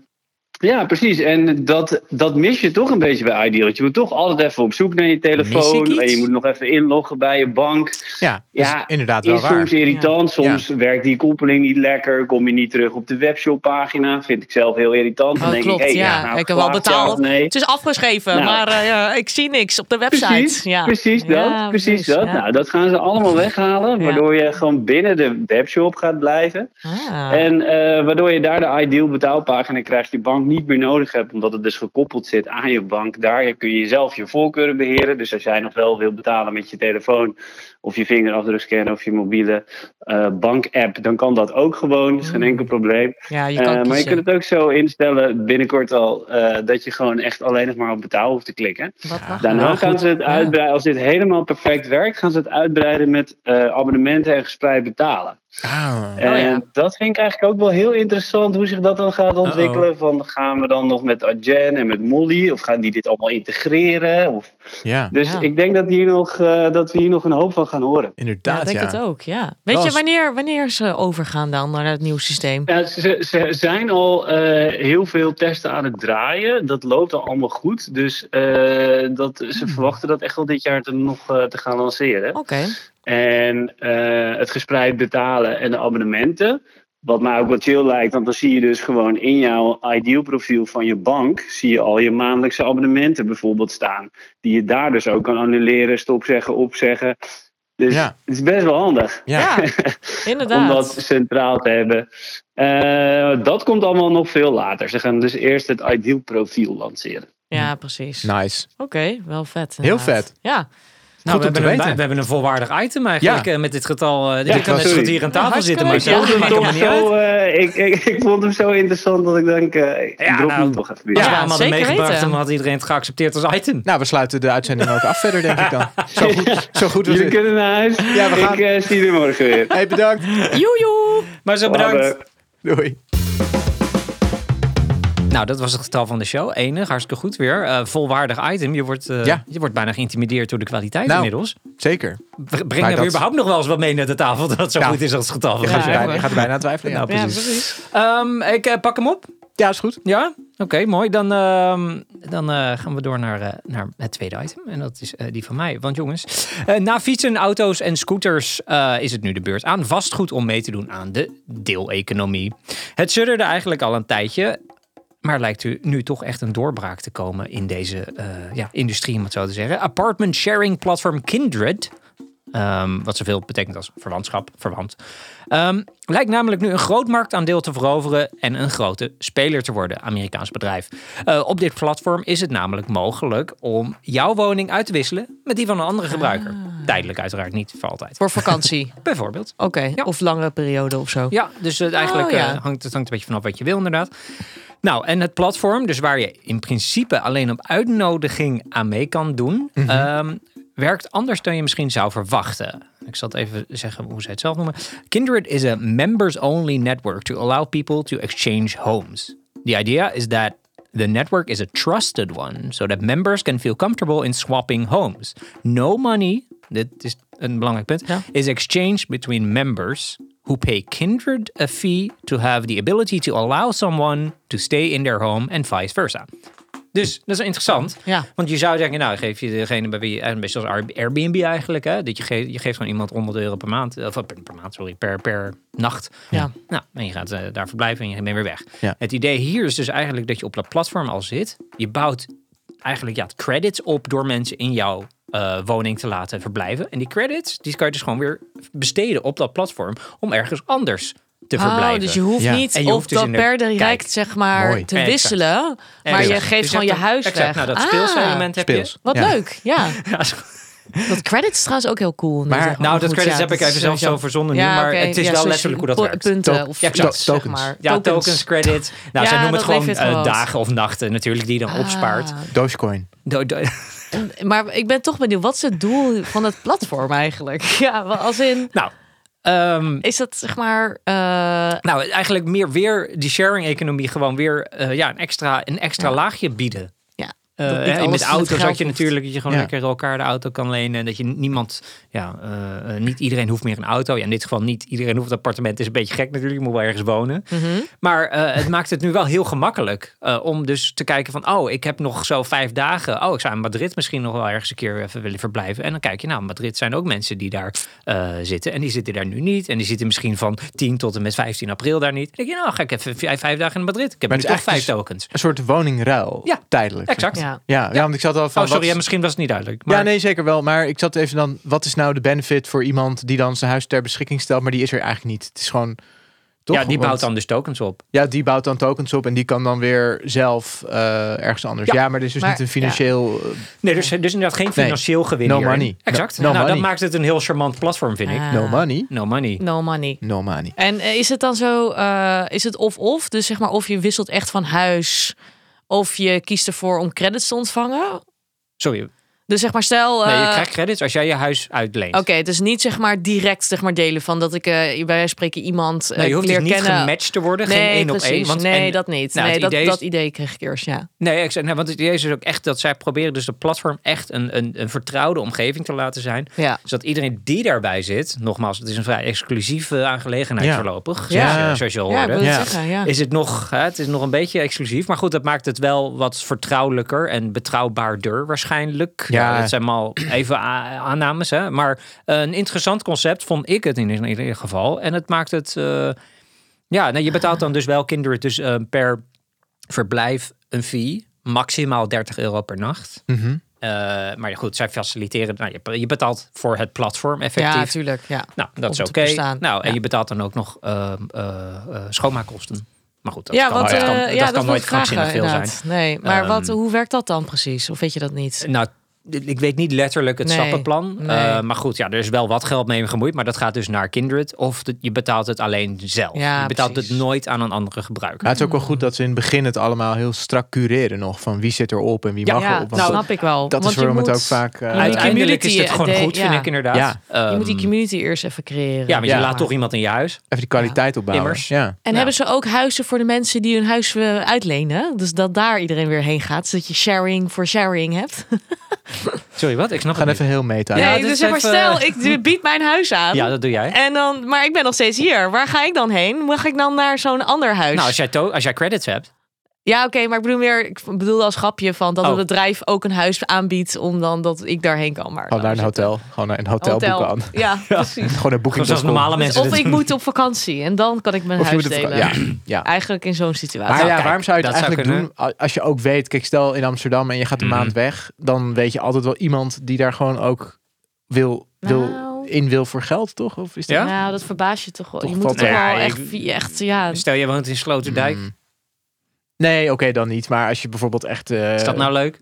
Ja, precies. En dat, dat mis je toch een beetje bij Ideal. Je moet toch altijd even op zoek naar je
Mis ik
telefoon.
iets?
En je moet nog even inloggen bij je bank.
Ja,
Ja,
is inderdaad wel
Is
waar.
soms irritant. Soms werkt die koppeling niet lekker. Kom je niet terug op de webshoppagina. Vind ik zelf heel irritant. Dan
Oh,
denk
klopt,
ik, hey,
ja.
nou,
ik heb wel
geklaagd, ja
betaald.
of nee.
Het is afgeschreven,
Nou.
maar eh, ja, ik zie niks op de website.
Precies,
ja.
precies dat.
Ja,
precies,
precies,
dat.
ja.
Nou, dat gaan ze allemaal weghalen.
Ja.
Waardoor je gewoon binnen de webshop gaat blijven.
Ah.
En eh, waardoor je daar de ideal betaalpagina krijgt, die bank niet meer nodig hebt, omdat het dus gekoppeld zit aan je bank. Daar kun je zelf je voorkeuren beheren. Dus als jij nog wel wil betalen met je telefoon, of je vingerafdrukscanner, of je mobiele eh, bank-app, dan kan dat ook gewoon. Dat is geen enkel probleem.
ja, Mm. je kan
Eh, maar je
kiezen.
kunt het ook zo instellen, binnenkort al, eh, dat je gewoon echt alleen nog maar op betaal hoeft te klikken.
Wat lachen.
Daarna
Nou,
gaan
goed.
ze het uitbreiden, als dit helemaal perfect werkt, gaan ze het uitbreiden met eh, abonnementen en gespreid betalen.
Ah,
En
Oh ja.
dat vind ik eigenlijk ook wel heel interessant hoe zich dat dan gaat ontwikkelen. Van gaan we dan nog met Arjen en met Molly? Of gaan die dit allemaal integreren? Of...
ja,
Dus
Ja.
ik denk dat, hier nog, eh, dat we hier nog een hoop van gaan horen.
Ja,
inderdaad.
ik
Ja,
denk het ook, ja. Weet
Dat
je
is-
wanneer, wanneer ze overgaan dan naar het nieuwe systeem?
Ja, ze, ze zijn al eh, heel veel testen aan het draaien. Dat loopt al allemaal goed. Dus eh, dat, ze verwachten dat echt wel dit jaar te, nog eh, te gaan lanceren.
Oké.
En eh, het gespreid betalen en de abonnementen. Wat mij ook wel chill lijkt, want dan zie je dus gewoon in jouw ideal profiel van je bank, zie je al je maandelijkse abonnementen bijvoorbeeld staan. Die je daar dus ook kan annuleren, stopzeggen, opzeggen. Dus
Ja.
het is best wel handig
Ja.
Ja,
om
inderdaad.
dat centraal te hebben. Eh, dat komt allemaal nog veel later. Ze gaan dus eerst het ideal profiel lanceren.
Ja, precies.
Nou.
nice.
Oké, wel vet.
Heel
inderdaad.
vet.
Ja,
Nou,
Goed
we
om te
hebben, een,
weten.
we hebben een volwaardig item eigenlijk
Ja.
eh, met dit getal. eh,
Ja,
je kan net zo
sorry.
goed hier aan tafel
Ja,
zitten, maar
hartstikke
zo
leuk. Ja,
maakt het
maar
allemaal
Toch
niet uit.
zo, eh, ik, ik, ik vond hem zo interessant dat ik denk, eh ik
Ja,
drop
nou,
hem toch even weer.
Als we hem
Ja,
hadden
zeker
meegebracht,
weten.
dan had iedereen het geaccepteerd als item.
Nou, we sluiten de uitzending ook af verder, denk ik dan. Zo goed, zo goed was
Jullie
het.
kunnen naar huis.
Ja, we gaan.
Ik eh, zie jullie morgen weer.
Hey, bedankt.
joejoe.
Maar zo bedankt.
Later.
Doei.
Nou, dat was het getal van de show. Enig, hartstikke goed weer. Eh, volwaardig item. Je wordt, eh,
Ja.
je wordt bijna geïntimideerd door de kwaliteit
Nou.
inmiddels.
Zeker.
Breng
Maar
er
dat-
überhaupt nog wel eens wat mee naar de tafel dat het zo
Ja.
goed is als het getal van
Je
de
gaat,
show.
er bijna, je
hoor.
gaat er bijna aan twijfelen. Ja,
Nou,
Ja,
precies.
precies.
Ehm, ik eh, pak hem op.
Ja, is goed.
Ja? Oké, mooi. Dan, ehm, dan eh, gaan we door naar, eh, naar het tweede item. En dat is eh, die van mij. Want jongens, eh, na fietsen, auto's en scooters eh, is het nu de beurt aan vastgoed om mee te doen aan de deeleconomie. Het sudderde eigenlijk al een tijdje. Maar lijkt u nu toch echt een doorbraak te komen in deze eh, ja, industrie, om het zo te zeggen. Apartment sharing platform Kindred Ehm, wat zoveel betekent als verwantschap, verwant. Ehm, lijkt namelijk nu een groot marktaandeel te veroveren en een grote speler te worden, Amerikaans bedrijf. Eh, op dit platform is het namelijk mogelijk om jouw woning uit te wisselen met die van een andere gebruiker. Tijdelijk uiteraard, niet voor altijd.
Voor vakantie.
Bijvoorbeeld.
Oké, of langere periode of zo.
Ja, dus het eigenlijk
Oh, ja.
eh, hangt, het hangt een beetje vanaf wat je wil, inderdaad. Nou, en het platform, dus waar je in principe alleen op uitnodiging aan mee kan doen, ehm, werkt anders dan je misschien zou verwachten. Ik zal het even zeggen hoe ze het zelf noemen. Kindred is a members-only network to allow people to exchange homes. The idea is that The network is a trusted one, so that members can feel comfortable in swapping homes. No money, dit is een belangrijk punt,
Ja.
is exchanged between members who pay Kindred a fee to have the ability to allow someone to stay in their home and vice versa. Dus dat is interessant.
Ja.
Want je zou denken, nou geef je degene bij wie, een beetje zoals Airbnb eigenlijk, hè, dat je, geeft, je geeft gewoon iemand 100 euro per maand, of per, per maand, sorry, per, per nacht.
Ja.
Nou, en je gaat eh, daar verblijven en je bent weer weg.
Ja.
Het idee hier is dus eigenlijk dat je op dat platform al zit. Je bouwt eigenlijk ja, credits op door mensen in jouw eh, woning te laten verblijven. En die credits, die kan je dus gewoon weer besteden op dat platform om ergens anders te verblijven.
Oh, dus je hoeft
Ja.
niet
En je
of
hoeft dus
dat
in de-
per direct
Kijk.
zeg maar
Mooi.
te
Exact.
wisselen, maar je
Exact.
geeft
Dus
gewoon je
hebt dat-
huis
exact,
weg.
Nou, dat
Ah,
speelselement heb
Speels.
je.
Wat
Ja.
leuk, ja.
Ja, is goed.
Dat credit is trouwens ook heel cool.
Maar-
zeg
nou, dat
goed,
credits
ja,
heb ik
dat
even
is
zelf
sowieso-
zo verzonnen nu, maar het is wel
zoals
letterlijk hoe dat
po-
werkt.
Punten
Tok-
of
ja,
iets, zeg
tokens.
maar.
ja, tokens, credits. Nou, zij
Ja,
noemen
dat
het gewoon
levert gewoon
eh,
wat.
dagen of nachten natuurlijk die je dan opspaart.
Ah.
Dogecoin.
Do- do-
Maar ik ben toch benieuwd, wat is het doel van het platform eigenlijk? Ja, wel als in,
nou, ehm,
is dat zeg maar... eh,
Nou, eigenlijk meer weer die sharing-economie gewoon weer eh, ja, een extra, een extra laagje bieden.
ja,
eh,
Dat niet
hè,
alles
met
met
auto's
geld
had je
hoeft.
natuurlijk dat je gewoon
Ja.
lekker elkaar de auto kan lenen. En dat je niemand, ja, eh, eh, niet iedereen hoeft meer een auto. Ja, in dit geval niet iedereen hoeft een appartement. is een beetje gek natuurlijk, je moet wel ergens wonen.
Mhm.
Maar eh, het maakt het nu wel heel gemakkelijk eh, om dus te kijken van... oh, ik heb nog zo vijf dagen. Oh, ik zou in Madrid misschien nog wel ergens een keer even willen verblijven. En dan kijk je, nou, in Madrid zijn ook mensen die daar eh, zitten. En die zitten daar nu niet. En die zitten misschien van 10 tot en met 15 april daar niet. Dan denk je, nou, ga ik even vijf, vijf dagen in Madrid. Ik heb
Maar
nu
het is
toch vijf
eigenlijk dus-
tokens.
Een soort woningruil.
Ja,
tijdelijk.
Exact.
Ja.
Ja, ja, want ik zat al van.
Oh, sorry,
wat-
ja, misschien was het niet duidelijk. Maar...
Ja, nee, zeker wel. Maar ik zat even dan. Wat is nou de benefit voor iemand die dan zijn huis ter beschikking stelt, maar die is er eigenlijk niet? Het is gewoon. Toch?
ja, die
Want-
bouwt dan dus tokens op.
Ja, die bouwt dan tokens op en die kan dan weer zelf eh, ergens anders.
Ja.
Ja, maar er is dus
Maar-
niet een financieel. eh,
Nee, dus, dus inderdaad geen financieel gewin
No
hierin.
money.
Exact.
No
nou, dat
money.
maakt het een heel charmant platform, vind ik.
Ah.
eh, no money.
No money.
No money.
No money.
En eh, is het dan zo, eh, is het of-of? Dus zeg maar of je wisselt echt van huis, of je kiest ervoor om credits te ontvangen?
Sorry.
Dus zeg maar stel...
Nee, je
eh,
krijgt credits als jij je huis uitleent.
Oké, dus niet zeg maar direct zeg maar delen van dat ik eh bij wijze van spreken iemand eh,
Nou, je hoeft dus
leer
niet
kennen.
gematcht te worden, geen
nee,
één
precies.
op één. Want,
nee,
en-
dat niet.
nou,
nee,
het
dat,
idee is-
dat idee kreeg ik eerst, ja.
nee, ik zeg, nee, want het idee is dus ook echt dat zij proberen dus dat platform echt een, een, een vertrouwde omgeving te laten zijn.
Ja.
Zodat iedereen die daarbij zit, nogmaals, het is een vrij exclusieve aangelegenheid
Ja.
voorlopig,
Ja.
zoals, je- zoals je al
Ja, ik
hoorde.
wil het
Ja.
zeggen, ja.
Is het nog, hè, het is nog een beetje exclusief. Maar goed, dat maakt het wel wat vertrouwelijker en betrouwbaarder waarschijnlijk.
Ja.
dat zijn maar even a- aannames. Hè? Maar eh, een interessant concept vond ik het in ieder- in ieder geval. En het maakt het. eh, ja, nou, je betaalt dan dus wel kinderen dus, eh, per verblijf een fee. Maximaal 30 euro per nacht.
Mhm.
Eh, maar ja, goed, zij faciliteren. Nou, je- je betaalt voor het platform effectief.
Ja, tuurlijk, ja.
Nou, dat
Om
is
te
oké.
bestaan.
Nou, en
Ja.
je betaalt dan ook nog ehm, eh, eh, schoonmaakkosten. Maar goed, dat
ja,
kan,
want,
dat kan,
eh,
dat
ja,
kan
wil
nooit
ik vragen,
krankzinnig veel zijn.
inderdaad. Nee, maar wat,
Ehm.
hoe werkt dat dan precies? Of weet je dat niet?
Nou, ik weet niet letterlijk het
Nee,
stappenplan.
nee.
Eh, maar goed, ja, er is wel wat geld mee gemoeid. Maar dat gaat dus naar Kindred. Of dat- je betaalt het alleen zelf.
Ja,
je betaalt
precies.
het nooit aan een andere gebruiker.
Maar het is ook wel goed dat ze in het begin het allemaal heel strak cureren nog. Van wie zit erop en wie
Ja, nou,
mag
ja,
erop.
dat
Want
snap ik wel.
dat
want
is
je
waarom het
moet-
ook vaak... eh,
die
Uiteindelijk is dit
community,
gewoon
eh,
goed,
de-
vind
ja.
ik inderdaad.
Ja.
Je moet die
Ehm,
community eerst even creëren.
ja, want je
Ja.
laat toch iemand in je huis.
even die kwaliteit opbouwen.
Immers.
Ja.
En
Ja.
hebben ze ook huizen voor de mensen die hun huis eh, uitlenen? Dus dat daar iedereen weer heen gaat. Zodat je sharing voor sharing hebt.
Sorry, wat? Ik snap
We gaan
het
even heel meta.
Ja,
nee,
dit
dus
is
zeg maar,
even-
stel, ik bied mijn huis aan.
niet. Ja, dat doe jij.
en dan, maar ik ben nog steeds hier. Waar ga ik dan heen? Mag ik dan naar zo'n ander huis?
Nou, als jij, to- als jij credits hebt.
Ja, oké, maar ik bedoel meer, ik bedoelde als grapje van dat
Oh.
een bedrijf ook een huis aanbiedt, om dan dat ik daarheen kan. Maar
Gewoon naar Oh, een
dan-
hotel. Gewoon naar een hotel, boeken aan.
Ja, precies.
Gewoon een boeking.
Zoals normale mensen
of
dit
ik moet op vakantie en dan kan ik mijn
Of je
huis
moet op
delen.
vakantie. Ja, ja.
Eigenlijk in zo'n situatie.
Maar
Nou,
ja,
kijk,
waarom zou je het
dat zou
eigenlijk doen a- als je ook weet... Kijk, stel in Amsterdam en je gaat een
Mhm.
maand weg... dan weet je altijd wel iemand die daar gewoon ook wil, wil,
Nou.
in wil voor geld, toch? Of is dat...
Ja?
Nou, dat verbaast je toch wel.
Toch
je moet
valt
toch wel
wel. Ja,
echt,
ik-
via- echt, ja.
doen. Stel, je woont in Sloterdijk.
Mm. Nee, oké, dan niet. Maar als je bijvoorbeeld echt... eh,
Is dat nou leuk?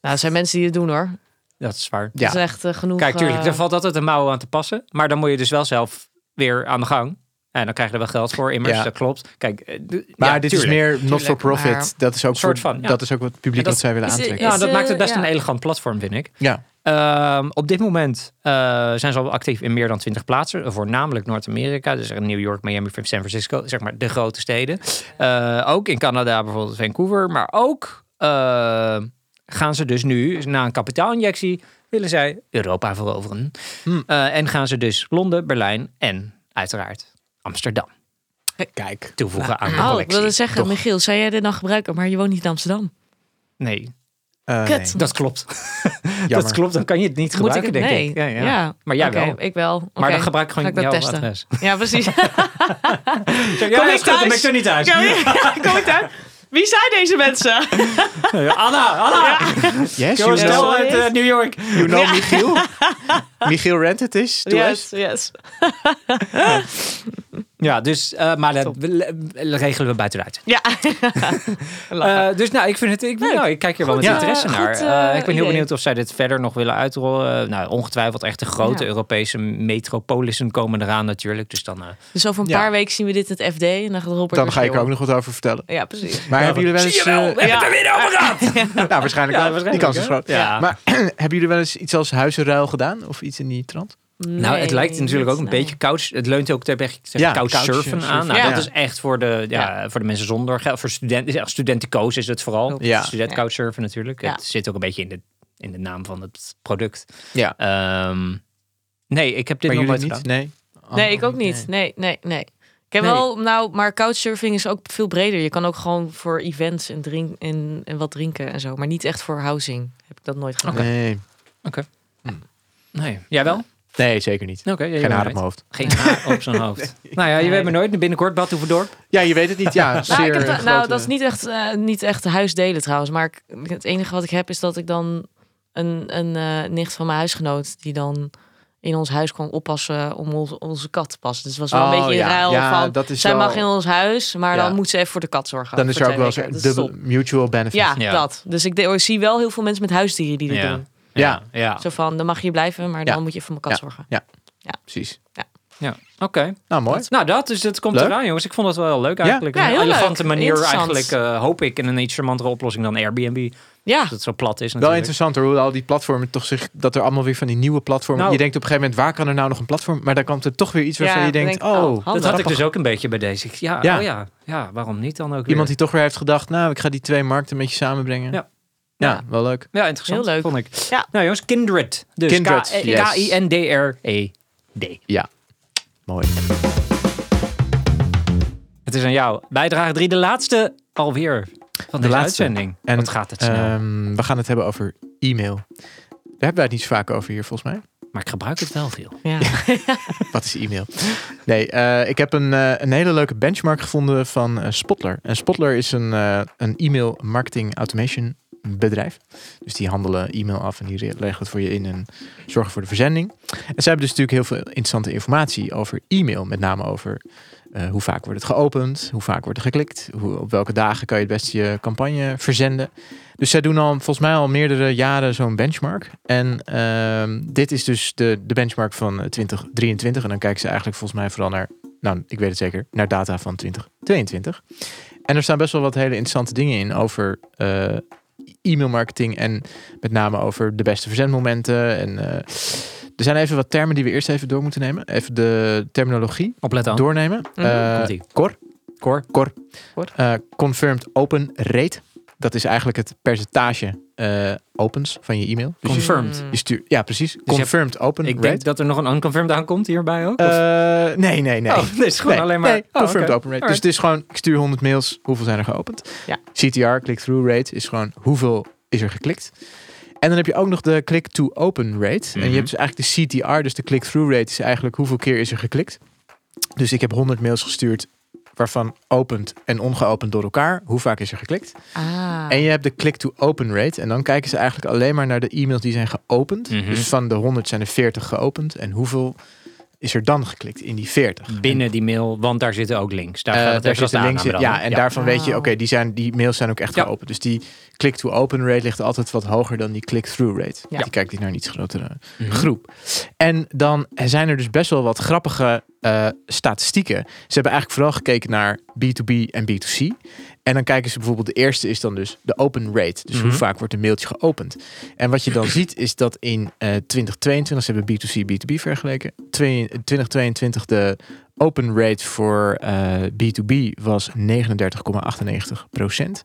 Nou, er zijn mensen die het doen hoor.
Dat is waar.
Dat
Ja.
is echt eh, genoeg.
Kijk, tuurlijk,
eh,
daar valt altijd een mouw aan te passen. Maar dan moet je dus wel zelf weer aan de gang. En dan krijg je er wel geld voor, immers.
Ja.
Dat klopt. Kijk, eh, d-
Maar
ja,
dit
tuurlijk.
is meer not-for-profit.
maar-
Dat is ook,
Soort
voor-
van, ja.
dat is ook wat het publiek
En dat
dat, zij willen
is-
aantrekken.
Ja, dat
eh,
maakt het best
ja.
een elegant platform, vind ik.
ja.
Ehm, op dit moment eh, zijn ze al actief in meer dan 20 plaatsen, voornamelijk Noord-Amerika, dus New York, Miami, San Francisco, zeg maar de grote steden. Eh, ook in Canada bijvoorbeeld Vancouver, maar ook eh, gaan ze dus nu na een kapitaalinjectie willen zij Europa veroveren
Hmm.
Eh, en gaan ze dus Londen, Berlijn en uiteraard Amsterdam
Kijk.
toevoegen aan de
Oh, ik
collectie.
wilde zeggen,
Toch?
Michiel, zou jij dit nou gebruiken? Maar je woont niet in Amsterdam.
Nee,
Eh,
Kut.
nee.
dat klopt. dat
Jammer.
klopt. Dan kan je het niet gebruiken,
Moet ik het?
denk
Nee.
ik. Ja, ja. Maar
Maar
jij
ja,
wel.
Ik wel.
Maar
Oké,
dan gebruik ik
ga
gewoon
ik dat
jouw
testen.
adres.
Ja, precies.
Zeg, ja,
Kom
ja,
ik
is goed, dan
thuis?
ben ik er niet uit.
Kom ik- kom ik daar? Wie zijn deze mensen?
Eh, Anna, Anna! Jongens,
Yes, you know,
snel uit eh, New York.
you know Michiel? Michiel Rent het is? Doe
Yes,
eens.
yes.
Ja, dus, eh, maar dat
Top.
we- le- regelen we buiten de uitzending.
Ja. Lachen.
Eh, dus nou, ik vind het, ik, nou, ik kijk hier wel
Goed,
met
eh,
interesse
goed,
naar.
eh,
Eh, ik ben heel
idee.
benieuwd of zij dit verder nog willen uitrollen. Eh, nou, ongetwijfeld echt de grote
Ja.
Europese metropolissen komen eraan natuurlijk. Dus dan, eh,
dus over een
Ja.
paar weken zien we dit in het FD. En dan gaat Robert
Dan ga
weer
ik er ook
schreeuwen.
nog wat over vertellen.
Ja, precies.
Maar hebben jullie wel eens...
zie je wel,
eh,
we hebben het er weer over gehad.
nou, waarschijnlijk
Ja,
wel. Die
waarschijnlijk,
kans is
hè?
groot.
Ja.
Maar hebben jullie wel eens iets als huizenruil gedaan? Of iets in die trant?
nou, het
Nee,
lijkt natuurlijk
niet,
ook een
nee.
beetje couch. Het leunt ook ter weg
Ja,
couchsurfen
couchsurfen,
aan. Nou,
ja.
dat is echt voor de, ja, voor de mensen zonder geld. Voor studenten, echt studentenkoos is het vooral.
Klopt.
Ja.
Student
Ja.
couchsurfen natuurlijk.
Ja.
Het zit ook een beetje in de, in de naam van het product.
Ja.
Ehm, nee, ik heb dit
maar
nog
jullie
nooit
niet?
gedaan.
Nee?
Nee,
Oh,
ik ook niet. Nee, nee, nee. Ik heb
Nee.
wel, nou, maar couchsurfing is ook veel breder. Je kan ook gewoon voor events en, drink, en, en wat drinken en zo. Maar niet echt voor housing. Heb ik dat nooit gedaan.
Nee.
Nee. Jij wel?
nee, zeker niet.
Oké. jij
Hm. Geen
wel,
haar
right.
op mijn hoofd.
Geen haar op zijn hoofd. Nou ja, je weet maar nooit. Binnenkort Bad Hoeverdorp.
Ja, je weet het niet. Ja, zeer
Nou, ik heb da-
grote-
nou, dat is niet echt, eh, niet echt huisdelen trouwens. Maar ik- het enige wat ik heb is dat ik dan een, een eh, nicht van mijn huisgenoot... die dan in ons huis kwam oppassen om ons- onze kat te passen. Dus het was wel
Oh,
een beetje in
ja.
ruil
Ja,
van...
dat is
zij
wel-
mag in ons huis, maar
Ja.
dan moet ze even voor de kat zorgen.
Dan is
voor
er ook wel
twee
eens
weken.
een
Oh, Dat is
dubbel
top.
mutual benefit.
Ja,
Ja.
dat. Dus ik, de- ik zie wel heel veel mensen met huisdieren die dat
Ja.
doen.
Ja.
Ja.
Zo van, dan mag je hier blijven, maar dan
Ja.
moet je voor mijn kat zorgen.
Precies.
ja. Oké.
Nou, mooi.
Nou, dat, dus dat komt
Leuk.
eraan, jongens. Ik vond het wel heel leuk
Ja.
eigenlijk.
Ja,
Een
heel leuk.
elegante manier
Interessant. Ah.
eigenlijk, eh, hoop ik. En een iets charmantere oplossing dan Airbnb.
Ja,
Dat het zo plat is
Wel
natuurlijk.
interessanter hoe al die platformen toch zich... dat er allemaal weer van die nieuwe platformen...
Nou.
je denkt op een gegeven moment, waar kan er nou nog een platform... maar daar komt er toch weer iets waarvan
Ja,
je
dan
denkt...
denk ik,
oh,
oh,
Dat
handig.
had ik
grappig.
dus ook een beetje bij deze. Ik- Ja,
Ja.
Oh ja. ja, waarom niet dan ook
Iemand
weer?
die toch weer heeft gedacht... nou, ik ga die twee markten met je samenbrengen.
Ja.
Ja,
Ja.
wel leuk.
Ja, interessant,
Heel leuk.
vond ik.
Ja.
Nou jongens, Kindred. Dus
Kindred,
K-
yes.
E K-I-N-D-R-E-D.
Ja, mooi.
Het is aan jou. Bijdrage 3, de laatste alweer van de
laatste.
uitzending.
En,
Wat gaat het snel.
Ehm, we gaan het hebben over e-mail. Daar hebben wij het niet zo vaak over hier, volgens mij.
maar ik gebruik het wel veel.
ja.
Wat is e-mail? Nee, eh, ik heb een, eh, een hele leuke benchmark gevonden van eh, Spotler. En Spotler is een, eh, een e-mail marketing automation bedrijf. Dus die handelen e-mail af en die re- leggen het voor je in en zorgen voor de verzending. En ze hebben dus natuurlijk heel veel interessante informatie over e-mail. Met name over eh, hoe vaak wordt het geopend, hoe vaak wordt er geklikt, hoe, op welke dagen kan je het beste je campagne verzenden. Dus zij doen al volgens mij al meerdere jaren zo'n benchmark. En ehm, dit is dus de, de benchmark van eh, 2023. En dan kijken ze eigenlijk volgens mij vooral naar, nou ik weet het zeker, naar data van 2022. En er staan best wel wat hele interessante dingen in over eh, e-mail marketing en met name over de beste verzendmomenten. En eh, er zijn even wat termen die we eerst even door moeten nemen. Even de terminologie
Oplet aan.
doornemen.
Mhm.
Eh,
Komt-ie.
Cor.
Cor.
Cor.
Cor.
Eh, confirmed open rate. Dat is eigenlijk het percentage eh, opens van je e-mail. Dus je,
Confirmed.
Mm.
je stuurt, ja, precies.
Dus hebt-
confirmed open
Ik denk
rate.
dat er nog een unconfirmed aankomt hierbij ook. of-
Eh, nee, nee, nee.
Oh, dit is gewoon
Nee,
alleen maar...
nee,
Oh,
confirmed
oké.
open rate. Dus
Alright.
het is gewoon, ik stuur 100 mails, hoeveel zijn er geopend?
Ja.
CTR, click-through rate, is gewoon hoeveel is er geklikt? En dan heb je ook nog de click-to-open rate. En
Mhm.
je hebt dus eigenlijk de CTR, dus de click-through rate, is eigenlijk hoeveel keer is er geklikt. Dus ik heb 100 mails gestuurd, waarvan opend en ongeopend door elkaar. Hoe vaak is er geklikt?
Ah.
En je hebt de click-to-open rate. En dan kijken ze eigenlijk alleen maar naar de e-mails die zijn geopend.
Mhm.
Dus van de 100 zijn er 40 geopend. En hoeveel is er dan geklikt in die 40?
binnen die mail, want daar zitten ook links. Daar,
Dus Eh,
gaat het
daar
even als
zitten
de
links in.
aanname dan,
Ja,
hè?
en daarvan weet je, oké,
Wauw.
die, zijn- die mails zijn ook echt
Ja.
geopend. Dus die click-to-open rate ligt altijd wat hoger dan die click-through rate.
Ja.
Die kijkt die naar een iets grotere
Mhm.
groep. En dan zijn er dus best wel wat grappige eh, statistieken. Ze hebben eigenlijk vooral gekeken naar B2B en B2C. En dan kijken ze bijvoorbeeld, de eerste is dan dus de open rate. Dus
Mhm.
hoe vaak wordt een mailtje geopend. En wat je dan ziet is dat in eh, 2022, ze hebben B2C B2B vergeleken. Twee- in 2022 de open rate voor eh, B2B was 39,98 procent.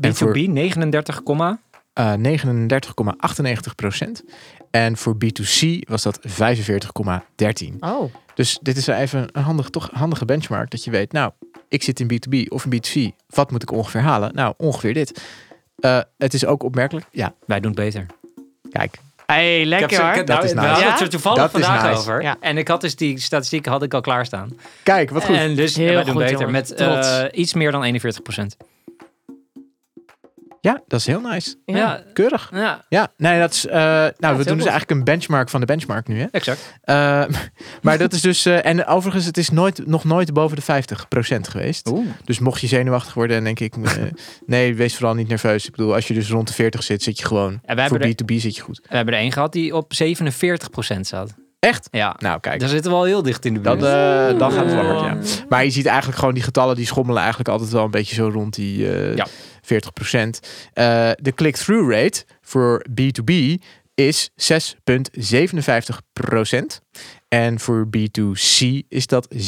En voor-
B2B 39, komma.
eh, 39,98 procent. En voor B2C was dat 45,13.
Oh,
Dus dit is even een handig, toch handige benchmark. Dat je weet, nou, ik zit in B2B of in B2C. Wat moet ik ongeveer halen? Nou, ongeveer dit. Eh, het is ook opmerkelijk. Ja,
wij doen het beter.
kijk.
hey,
Ik heb
lekker
ze- ik
hoor.
heb- nou,
Dat is
we
nice.
hadden het
Ja?
er toevallig
Dat is
vandaag
nice.
over.
Ja.
En ik had dus die statistieken had ik al klaarstaan.
Kijk, wat goed.
En dus
Heel
wij doen
goed,
beter
jongen.
met eh,
Trots.
iets meer dan 41 procent.
ja, dat is heel nice.
Ja. Ja,
Keurig. Ja, nee, dat is. eh, nou, we
heel
doen dus
goed.
eigenlijk een benchmark van de benchmark nu, hè?
exact.
Eh, maar dat is dus. eh, en overigens, het is nooit, nog nooit boven de 50% geweest.
Oeh.
Dus mocht je zenuwachtig worden, en denk ik. eh, nee, wees vooral niet nerveus. Ik bedoel, als je dus rond de 40 zit, zit je gewoon.
En wij
voor
hebben, er,
B2B zit je goed.
we hebben er één gehad die op 47 procent zat.
Echt?
Ja,
Nou, kijk.
daar zitten we al heel dicht in de buurt.
Dan, eh, dan gaat het wel
Oeh.
hard, ja.
Oh.
Maar je ziet eigenlijk gewoon die getallen die schommelen eigenlijk altijd wel een beetje zo rond die eh,
Ja.
40%. Eh, de click-through rate voor B2B, is 6,57 En voor B2C is dat 7,51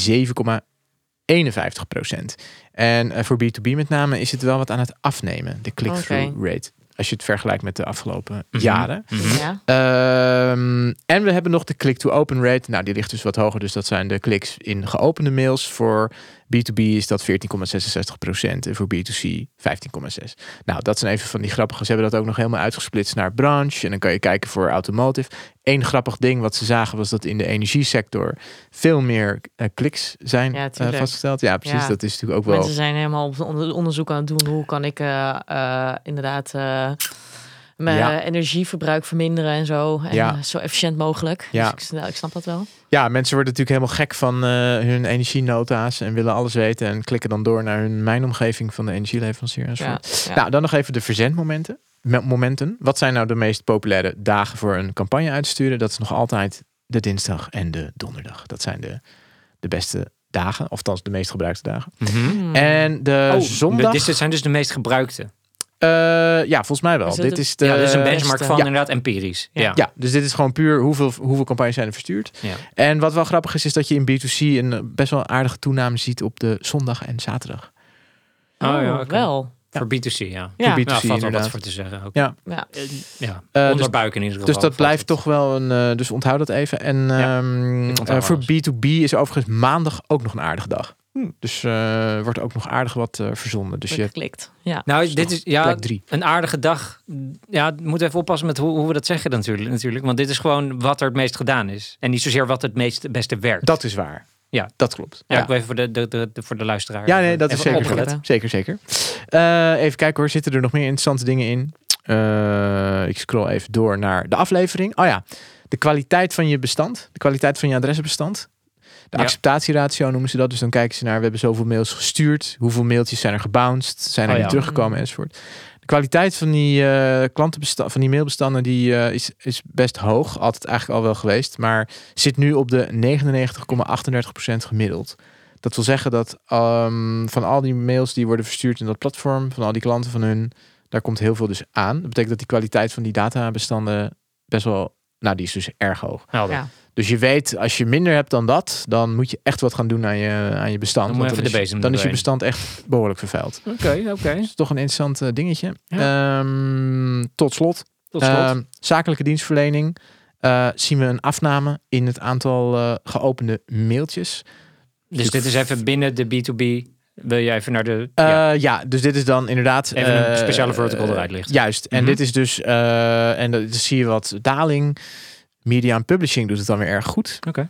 En eh, voor B2B met name is het wel wat aan het afnemen, de click-through rate. Als je het vergelijkt met de afgelopen
Mhm.
jaren.
Ja.
Ehm, en we hebben nog de click-to-open rate. Nou, die ligt dus wat hoger. Dus dat zijn de kliks in geopende mails. Voor B2B is dat 14,66%. En voor B2C 15,6%. Nou, dat zijn even van die grappige. Ze hebben dat ook nog helemaal uitgesplitst naar branche. En dan kan je kijken voor automotive. Eén grappig ding wat ze zagen was dat in de energiesector veel meer eh, kliks zijn
Ja,
eh,
tuurlijk.
vastgesteld. Ja, precies.
Ja.
Dat is natuurlijk ook wel.
Mensen zijn helemaal op on- onderzoek aan het doen. Hoe kan ik eh, eh, inderdaad eh, mijn
Ja.
energieverbruik verminderen en zo. En
Ja.
eh, zo efficiënt mogelijk.
Ja.
Dus ik, nou, ik snap dat wel.
Ja, mensen worden natuurlijk helemaal gek van eh, hun energienota's en willen alles weten en klikken dan door naar hun mijnomgeving van de energieleverancier.
Ja.
enzovoort.
ja.
Nou, dan nog even de verzendmomenten. Me- Momenten. Wat zijn nou de meest populaire dagen voor een campagne uitsturen? Dat is nog altijd de dinsdag en de donderdag. Dat zijn de, de beste dagen, althans de meest gebruikte dagen.
Hmm.
En de
oh,
eh, zondag.
Dit dit zijn Mhm. dus de meest gebruikte.
eh, ja, volgens mij wel.
Is het
dit
het-
is de,
ja, dit is een benchmark
beste.
van
Ja.
inderdaad empirisch. Ja.
Ja, dus dit is gewoon puur hoeveel, hoeveel campagnes zijn er verstuurd.
Ja.
En wat wel grappig is, is dat je in B2C een eh, best wel aardige toename ziet op de zondag en zaterdag.
Oh, ja,
Oh,
oké.
wel.
Voor B2C, ja.
Ja.
Voor
Nou,
B2C
valt wel wat
inderdaad.
voor te zeggen. Ook.
Ja.
Ja.
Ja.
Eh, dus,
Onderbuik in ieder geval.
dus dat
valt
blijft
het.
toch wel een... eh, dus onthoud dat even. En
Ja,
ehm,
ik onthoud
eh, voor
alles. Hmm.
B2B is overigens maandag ook nog een aardige dag. Dus eh, wordt ook nog aardig wat eh, verzonden. Dus
Dus
je hebt
geklikt. Ja.
Nou, dit is ja,
plek drie.
een aardige dag. Ja, moet even oppassen met hoe, hoe we dat zeggen dan natuurlijk, natuurlijk. Want dit is gewoon wat er het meest gedaan is. En niet zozeer wat het meest het beste werkt.
Dat is waar.
Ja.
Dat klopt.
ja, ik wil even voor de, de, de, de- voor de luisteraar.
Ja, nee, dat is
even
zeker
opgelet.
gelet. Zeker, zeker. Eh, even kijken hoor, zitten er nog meer interessante dingen in? Eh, ik scroll even door naar de aflevering. Oh ja, de kwaliteit van je bestand. De kwaliteit van je adresbestand. De
Ja.
acceptatieratio noemen ze dat. Dus dan kijken ze naar, we hebben zoveel mails gestuurd. Hoeveel mailtjes zijn er gebounced? Zijn er
Oh
niet
ja.
teruggekomen enzovoort. De kwaliteit van die, eh, klantenbesta- van die mailbestanden die, eh, is, is best hoog. Altijd eigenlijk al wel geweest. Maar zit nu op de 99,38% gemiddeld. Dat wil zeggen dat ehm, van al die mails die worden verstuurd in dat platform, van al die klanten van hun, daar komt heel veel dus aan. Dat betekent dat die kwaliteit van die databestanden best wel, nou die is dus erg hoog.
Helder.
Ja.
Dus je weet, als je minder hebt dan dat, dan moet je echt wat gaan doen aan je, aan je bestand.
Dan moet
want
je even
is,
de bezem
dan is je
erbij.
bestand echt behoorlijk vervuild.
Oké, oké.
Dat is toch een interessant eh, dingetje. Ehm, tot slot,
Tot slot.
Ehm, zakelijke dienstverlening eh, zien we een afname in het aantal eh, geopende mailtjes.
dus dit is even binnen de B2B. Wil je even naar de...
Eh,
ja.
ja. dus dit is dan inderdaad...
Even een
eh,
speciale vertical
eh,
eruit ligt.
Juist. En
Mhm.
dit is dus... eh, en dat, zie je wat daling. Media en publishing doet het dan weer erg goed.
Oké.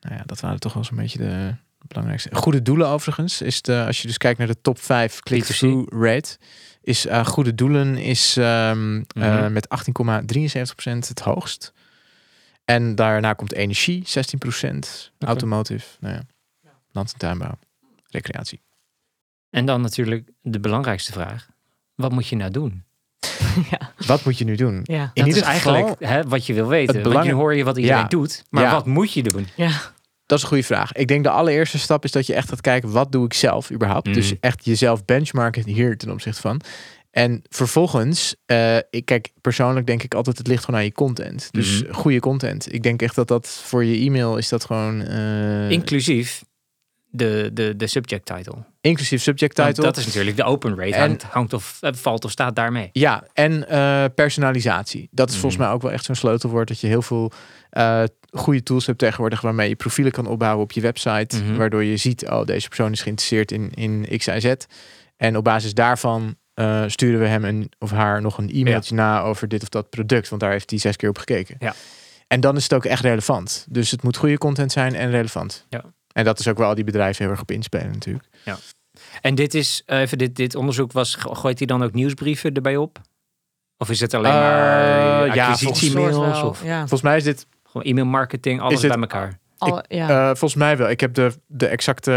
Nou ja, dat waren toch wel zo'n beetje de belangrijkste. Goede doelen overigens. Is de, als je dus kijkt naar de top 5 click-through rate. Is eh, goede doelen is ehm, eh,
Mhm.
met 18,73% het hoogst. En daarna komt energie, 16%. Automotive, nou ja. Land- en tuinbouw, recreatie.
En dan natuurlijk de belangrijkste vraag. Wat moet je nou doen?
Wat moet je nu doen?
Ja.
In
dat
ieder
is
geval-
eigenlijk hè, wat je wil weten.
Het
Want
belang-
nu hoor je wat iedereen
Ja.
doet. Maar
Ja.
wat moet je doen?
Ja.
Dat is een goede vraag. Ik denk de allereerste stap is dat je echt gaat kijken wat doe ik zelf überhaupt.
Mhm.
Dus echt jezelf benchmarken hier ten opzichte van. En vervolgens, eh, ik kijk persoonlijk denk ik altijd het ligt gewoon aan je content. Dus
Mhm.
goede content. Ik denk echt dat dat voor je e-mail is dat gewoon eh,
Inclusief de, de, de subject title.
inclusief subject
Want
title.
Dat is natuurlijk de open rate.
En-
hangt, hangt of eh, valt of staat daarmee.
Ja, en eh, personalisatie. Dat is
Mhm.
volgens mij ook wel echt zo'n sleutelwoord. Dat je heel veel eh, goede tools hebt tegenwoordig waarmee je profielen kan opbouwen op je website.
Mhm.
Waardoor je ziet, oh, deze persoon is geïnteresseerd in, in X, Y, Z. En op basis daarvan eh, sturen we hem een, of haar nog een e-mailtje na over dit of dat product. Want daar heeft hij zes keer op gekeken.
Ja.
En dan is het ook echt relevant. Dus het moet goede content zijn en relevant.
Ja.
En dat is ook wel al die bedrijven heel erg op inspelen natuurlijk.
En dit is, eh, even dit, dit onderzoek was, go- gooit hij dan ook nieuwsbrieven erbij op? Of is het alleen
Eh,
maar
ja,
acquisitie
volgens-
mails
Soort wel,
of
Ja.
Volgens mij is dit
gewoon e-mail marketing, alles
Is het-
bij elkaar?
Alle, ja.
Eh, volgens mij wel. Ik heb de, de exacte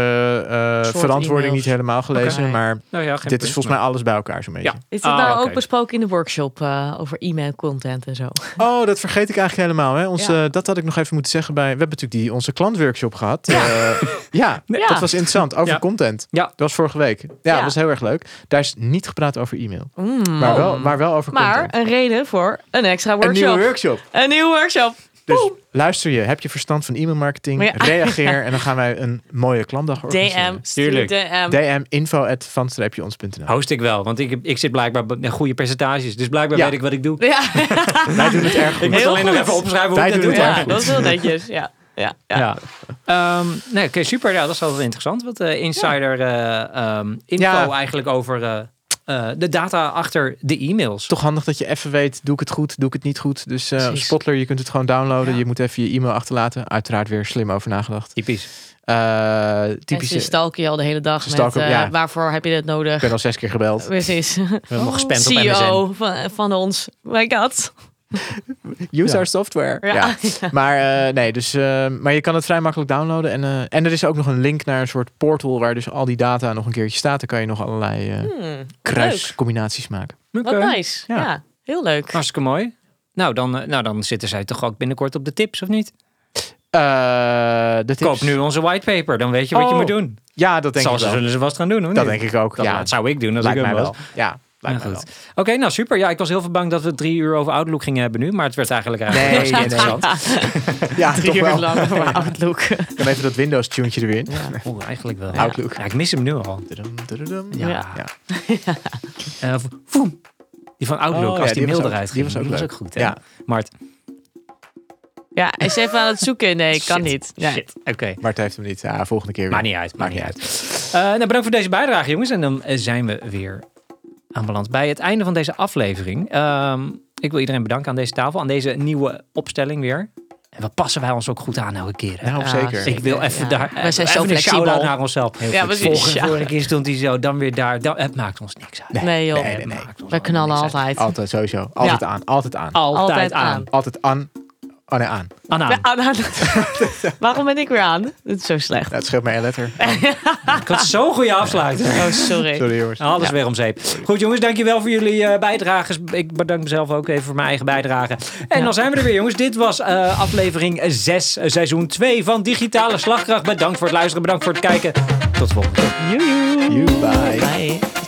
eh,
Soort
verantwoording
e-mails.
niet helemaal gelezen.
Oké.
Maar
Nou ja, geen
dit
punt,
is volgens
maar-
mij alles bij elkaar zo'n beetje.
Is dat
Ah,
nou
oké.
ook besproken in de workshop eh, over e-mail content en zo?
Oh, dat vergeet ik eigenlijk helemaal. Hè. Onze,
Ja.
Dat had ik nog even moeten zeggen bij... We hebben natuurlijk die onze klantworkshop gehad. Eh, Ja,
Ja.
dat was interessant. Over
Ja.
content.
Ja.
Dat was vorige week. Ja,
Ja.
dat was heel erg leuk. Daar is niet gepraat over e-mail.
Mm.
Maar, wel, maar wel over content.
Maar een reden voor een extra
Een
workshop.
nieuwe workshop.
Een nieuwe workshop.
Dus luister je, heb je verstand van e-mailmarketing?
Maar ja.
Reageer en dan gaan wij een mooie klantdag
DM.
organiseren.
Stuur
Tuurlijk.
DM.
DM info at van-ons.nl
Host ik wel, want ik, heb- ik zit blijkbaar bij goede percentages. Dus blijkbaar
Ja.
weet ik wat ik doe.
Ja.
Wij doen het erg
Ik
goed.
moet
Heel
alleen nog
goed.
even opschrijven hoe
Wij
ik dat
doen
doe.
het erg
ja,
goed.
dat is wel netjes. Ja. Ja, ja.
Ja. Ehm, nee, oké, super. Ja, dat is altijd interessant. Wat eh, insider eh, ehm, info
Ja.
eigenlijk over eh, eh, de data achter de e-mails.
Toch handig dat je even weet, doe ik het goed, doe ik het niet goed. Dus eh,
Precies.
Spotler, je kunt het gewoon downloaden.
Ja.
Je moet even je e-mail achterlaten. Uiteraard weer slim over nagedacht.
Typisch.
Eh
Mensen
typische,
stalken je al de hele dag
Stalken,
met eh,
ja.
waarvoor heb je dit nodig?
ik ben al zes keer gebeld.
Precies.
Helemaal gespamd op MSN.
CEO van, van ons. My god.
Use
Ja.
our software.
Ja.
Ja. Maar eh, nee, dus, eh, maar je kan het vrij makkelijk downloaden. En, eh, en er is ook nog een link naar een soort portal waar dus al die data nog een keertje staat. Dan kan je nog allerlei eh,
Hmm, leuk.
kruiscombinaties maken.
Wat
Oké. Ah,
nice. Ja.
Ja.
heel leuk.
Hartstikke mooi. Nou dan, eh, nou, dan zitten zij toch ook binnenkort op de tips, of niet?
Eh, de tips.
Koop nu onze whitepaper, dan weet je wat je
Oh,
moet doen.
Ja, dat denk
Zal
ik
ze,
wel.
zullen ze vast gaan doen, hoor.
Dat denk ik ook.
Dat,
ja,
dat zou ik doen als
lijkt
ik
mij
hem was.
wel. Ja,
Nou,
lijkt mij
goed. Oké, nou super. Ja, ik was heel veel bang dat we drie uur over Outlook gingen hebben nu, maar het werd eigenlijk
wel.
eigenlijk
Nee, nee, nee. Ja, toch
Drie uur
wel.
lang over Outlook.
Dan even dat Windows-tuntje er weer in.
Oeh, eigenlijk wel.
Outlook.
Ja, ik mis hem nu al.
Dudum, dudum.
Ja.
Ja.
Ja.
Eh, voem. Die van Outlook,
Oh,
als
ja,
die,
die was
mail
ook-
eruit ging.
die was ook leuk.
goed, hè?
Ja.
Mart,
Ja, hij is even aan het zoeken. Nee,
shit,
kan niet. Nee.
Shit, oké.
Maar het heeft hem niet. Ja, volgende keer weer.
Maakt niet uit, maakt niet
Maakt
uit. Eh, nou, bedankt voor deze bijdrage, jongens. En dan eh, zijn we weer aanbeland bij het einde van deze aflevering. Ehm, ik wil iedereen bedanken aan deze tafel, aan deze nieuwe opstelling weer. En wat passen wij ons ook goed aan elke keer, hè?
Nou,
Ja,
zeker.
zeker.
Ik wil even
ja.
daar
Wij
even
zijn zo
een
flexibel.
shout-out naar onszelf. Heel
Ja,
goed.
precies.
Vorige,
Ja.
vorige keer stond hij zo, dan weer daar. Dan, het maakt ons niks uit.
Nee, joh.
Nee, Oh, nee, nee.
Maakt ons
Wij knallen
niks uit.
altijd.
Altijd sowieso. Altijd
Ja.
aan. Altijd aan.
Altijd,
Altijd
aan.
aan.
Altijd aan. Oh nee, aan.
Aan, aan.
Ja, aan- aan- Waarom ben ik weer aan? Dit is zo slecht.
Dat scheelt mij een letter.
Ik had zo'n goede afsluiter.
Oh, sorry.
Sorry jongens.
Alles weer om zeep. Goed jongens, dankjewel voor jullie eh, bijdrages. Ik bedank mezelf ook even voor mijn eigen bijdrage. En dan zijn we er weer jongens. Dit was eh, aflevering 6, seizoen 2 van Digitale Slagkracht. Bedankt voor het luisteren, bedankt voor het kijken. Tot de volgende keer.
Joejoe.
You bye.
Bye.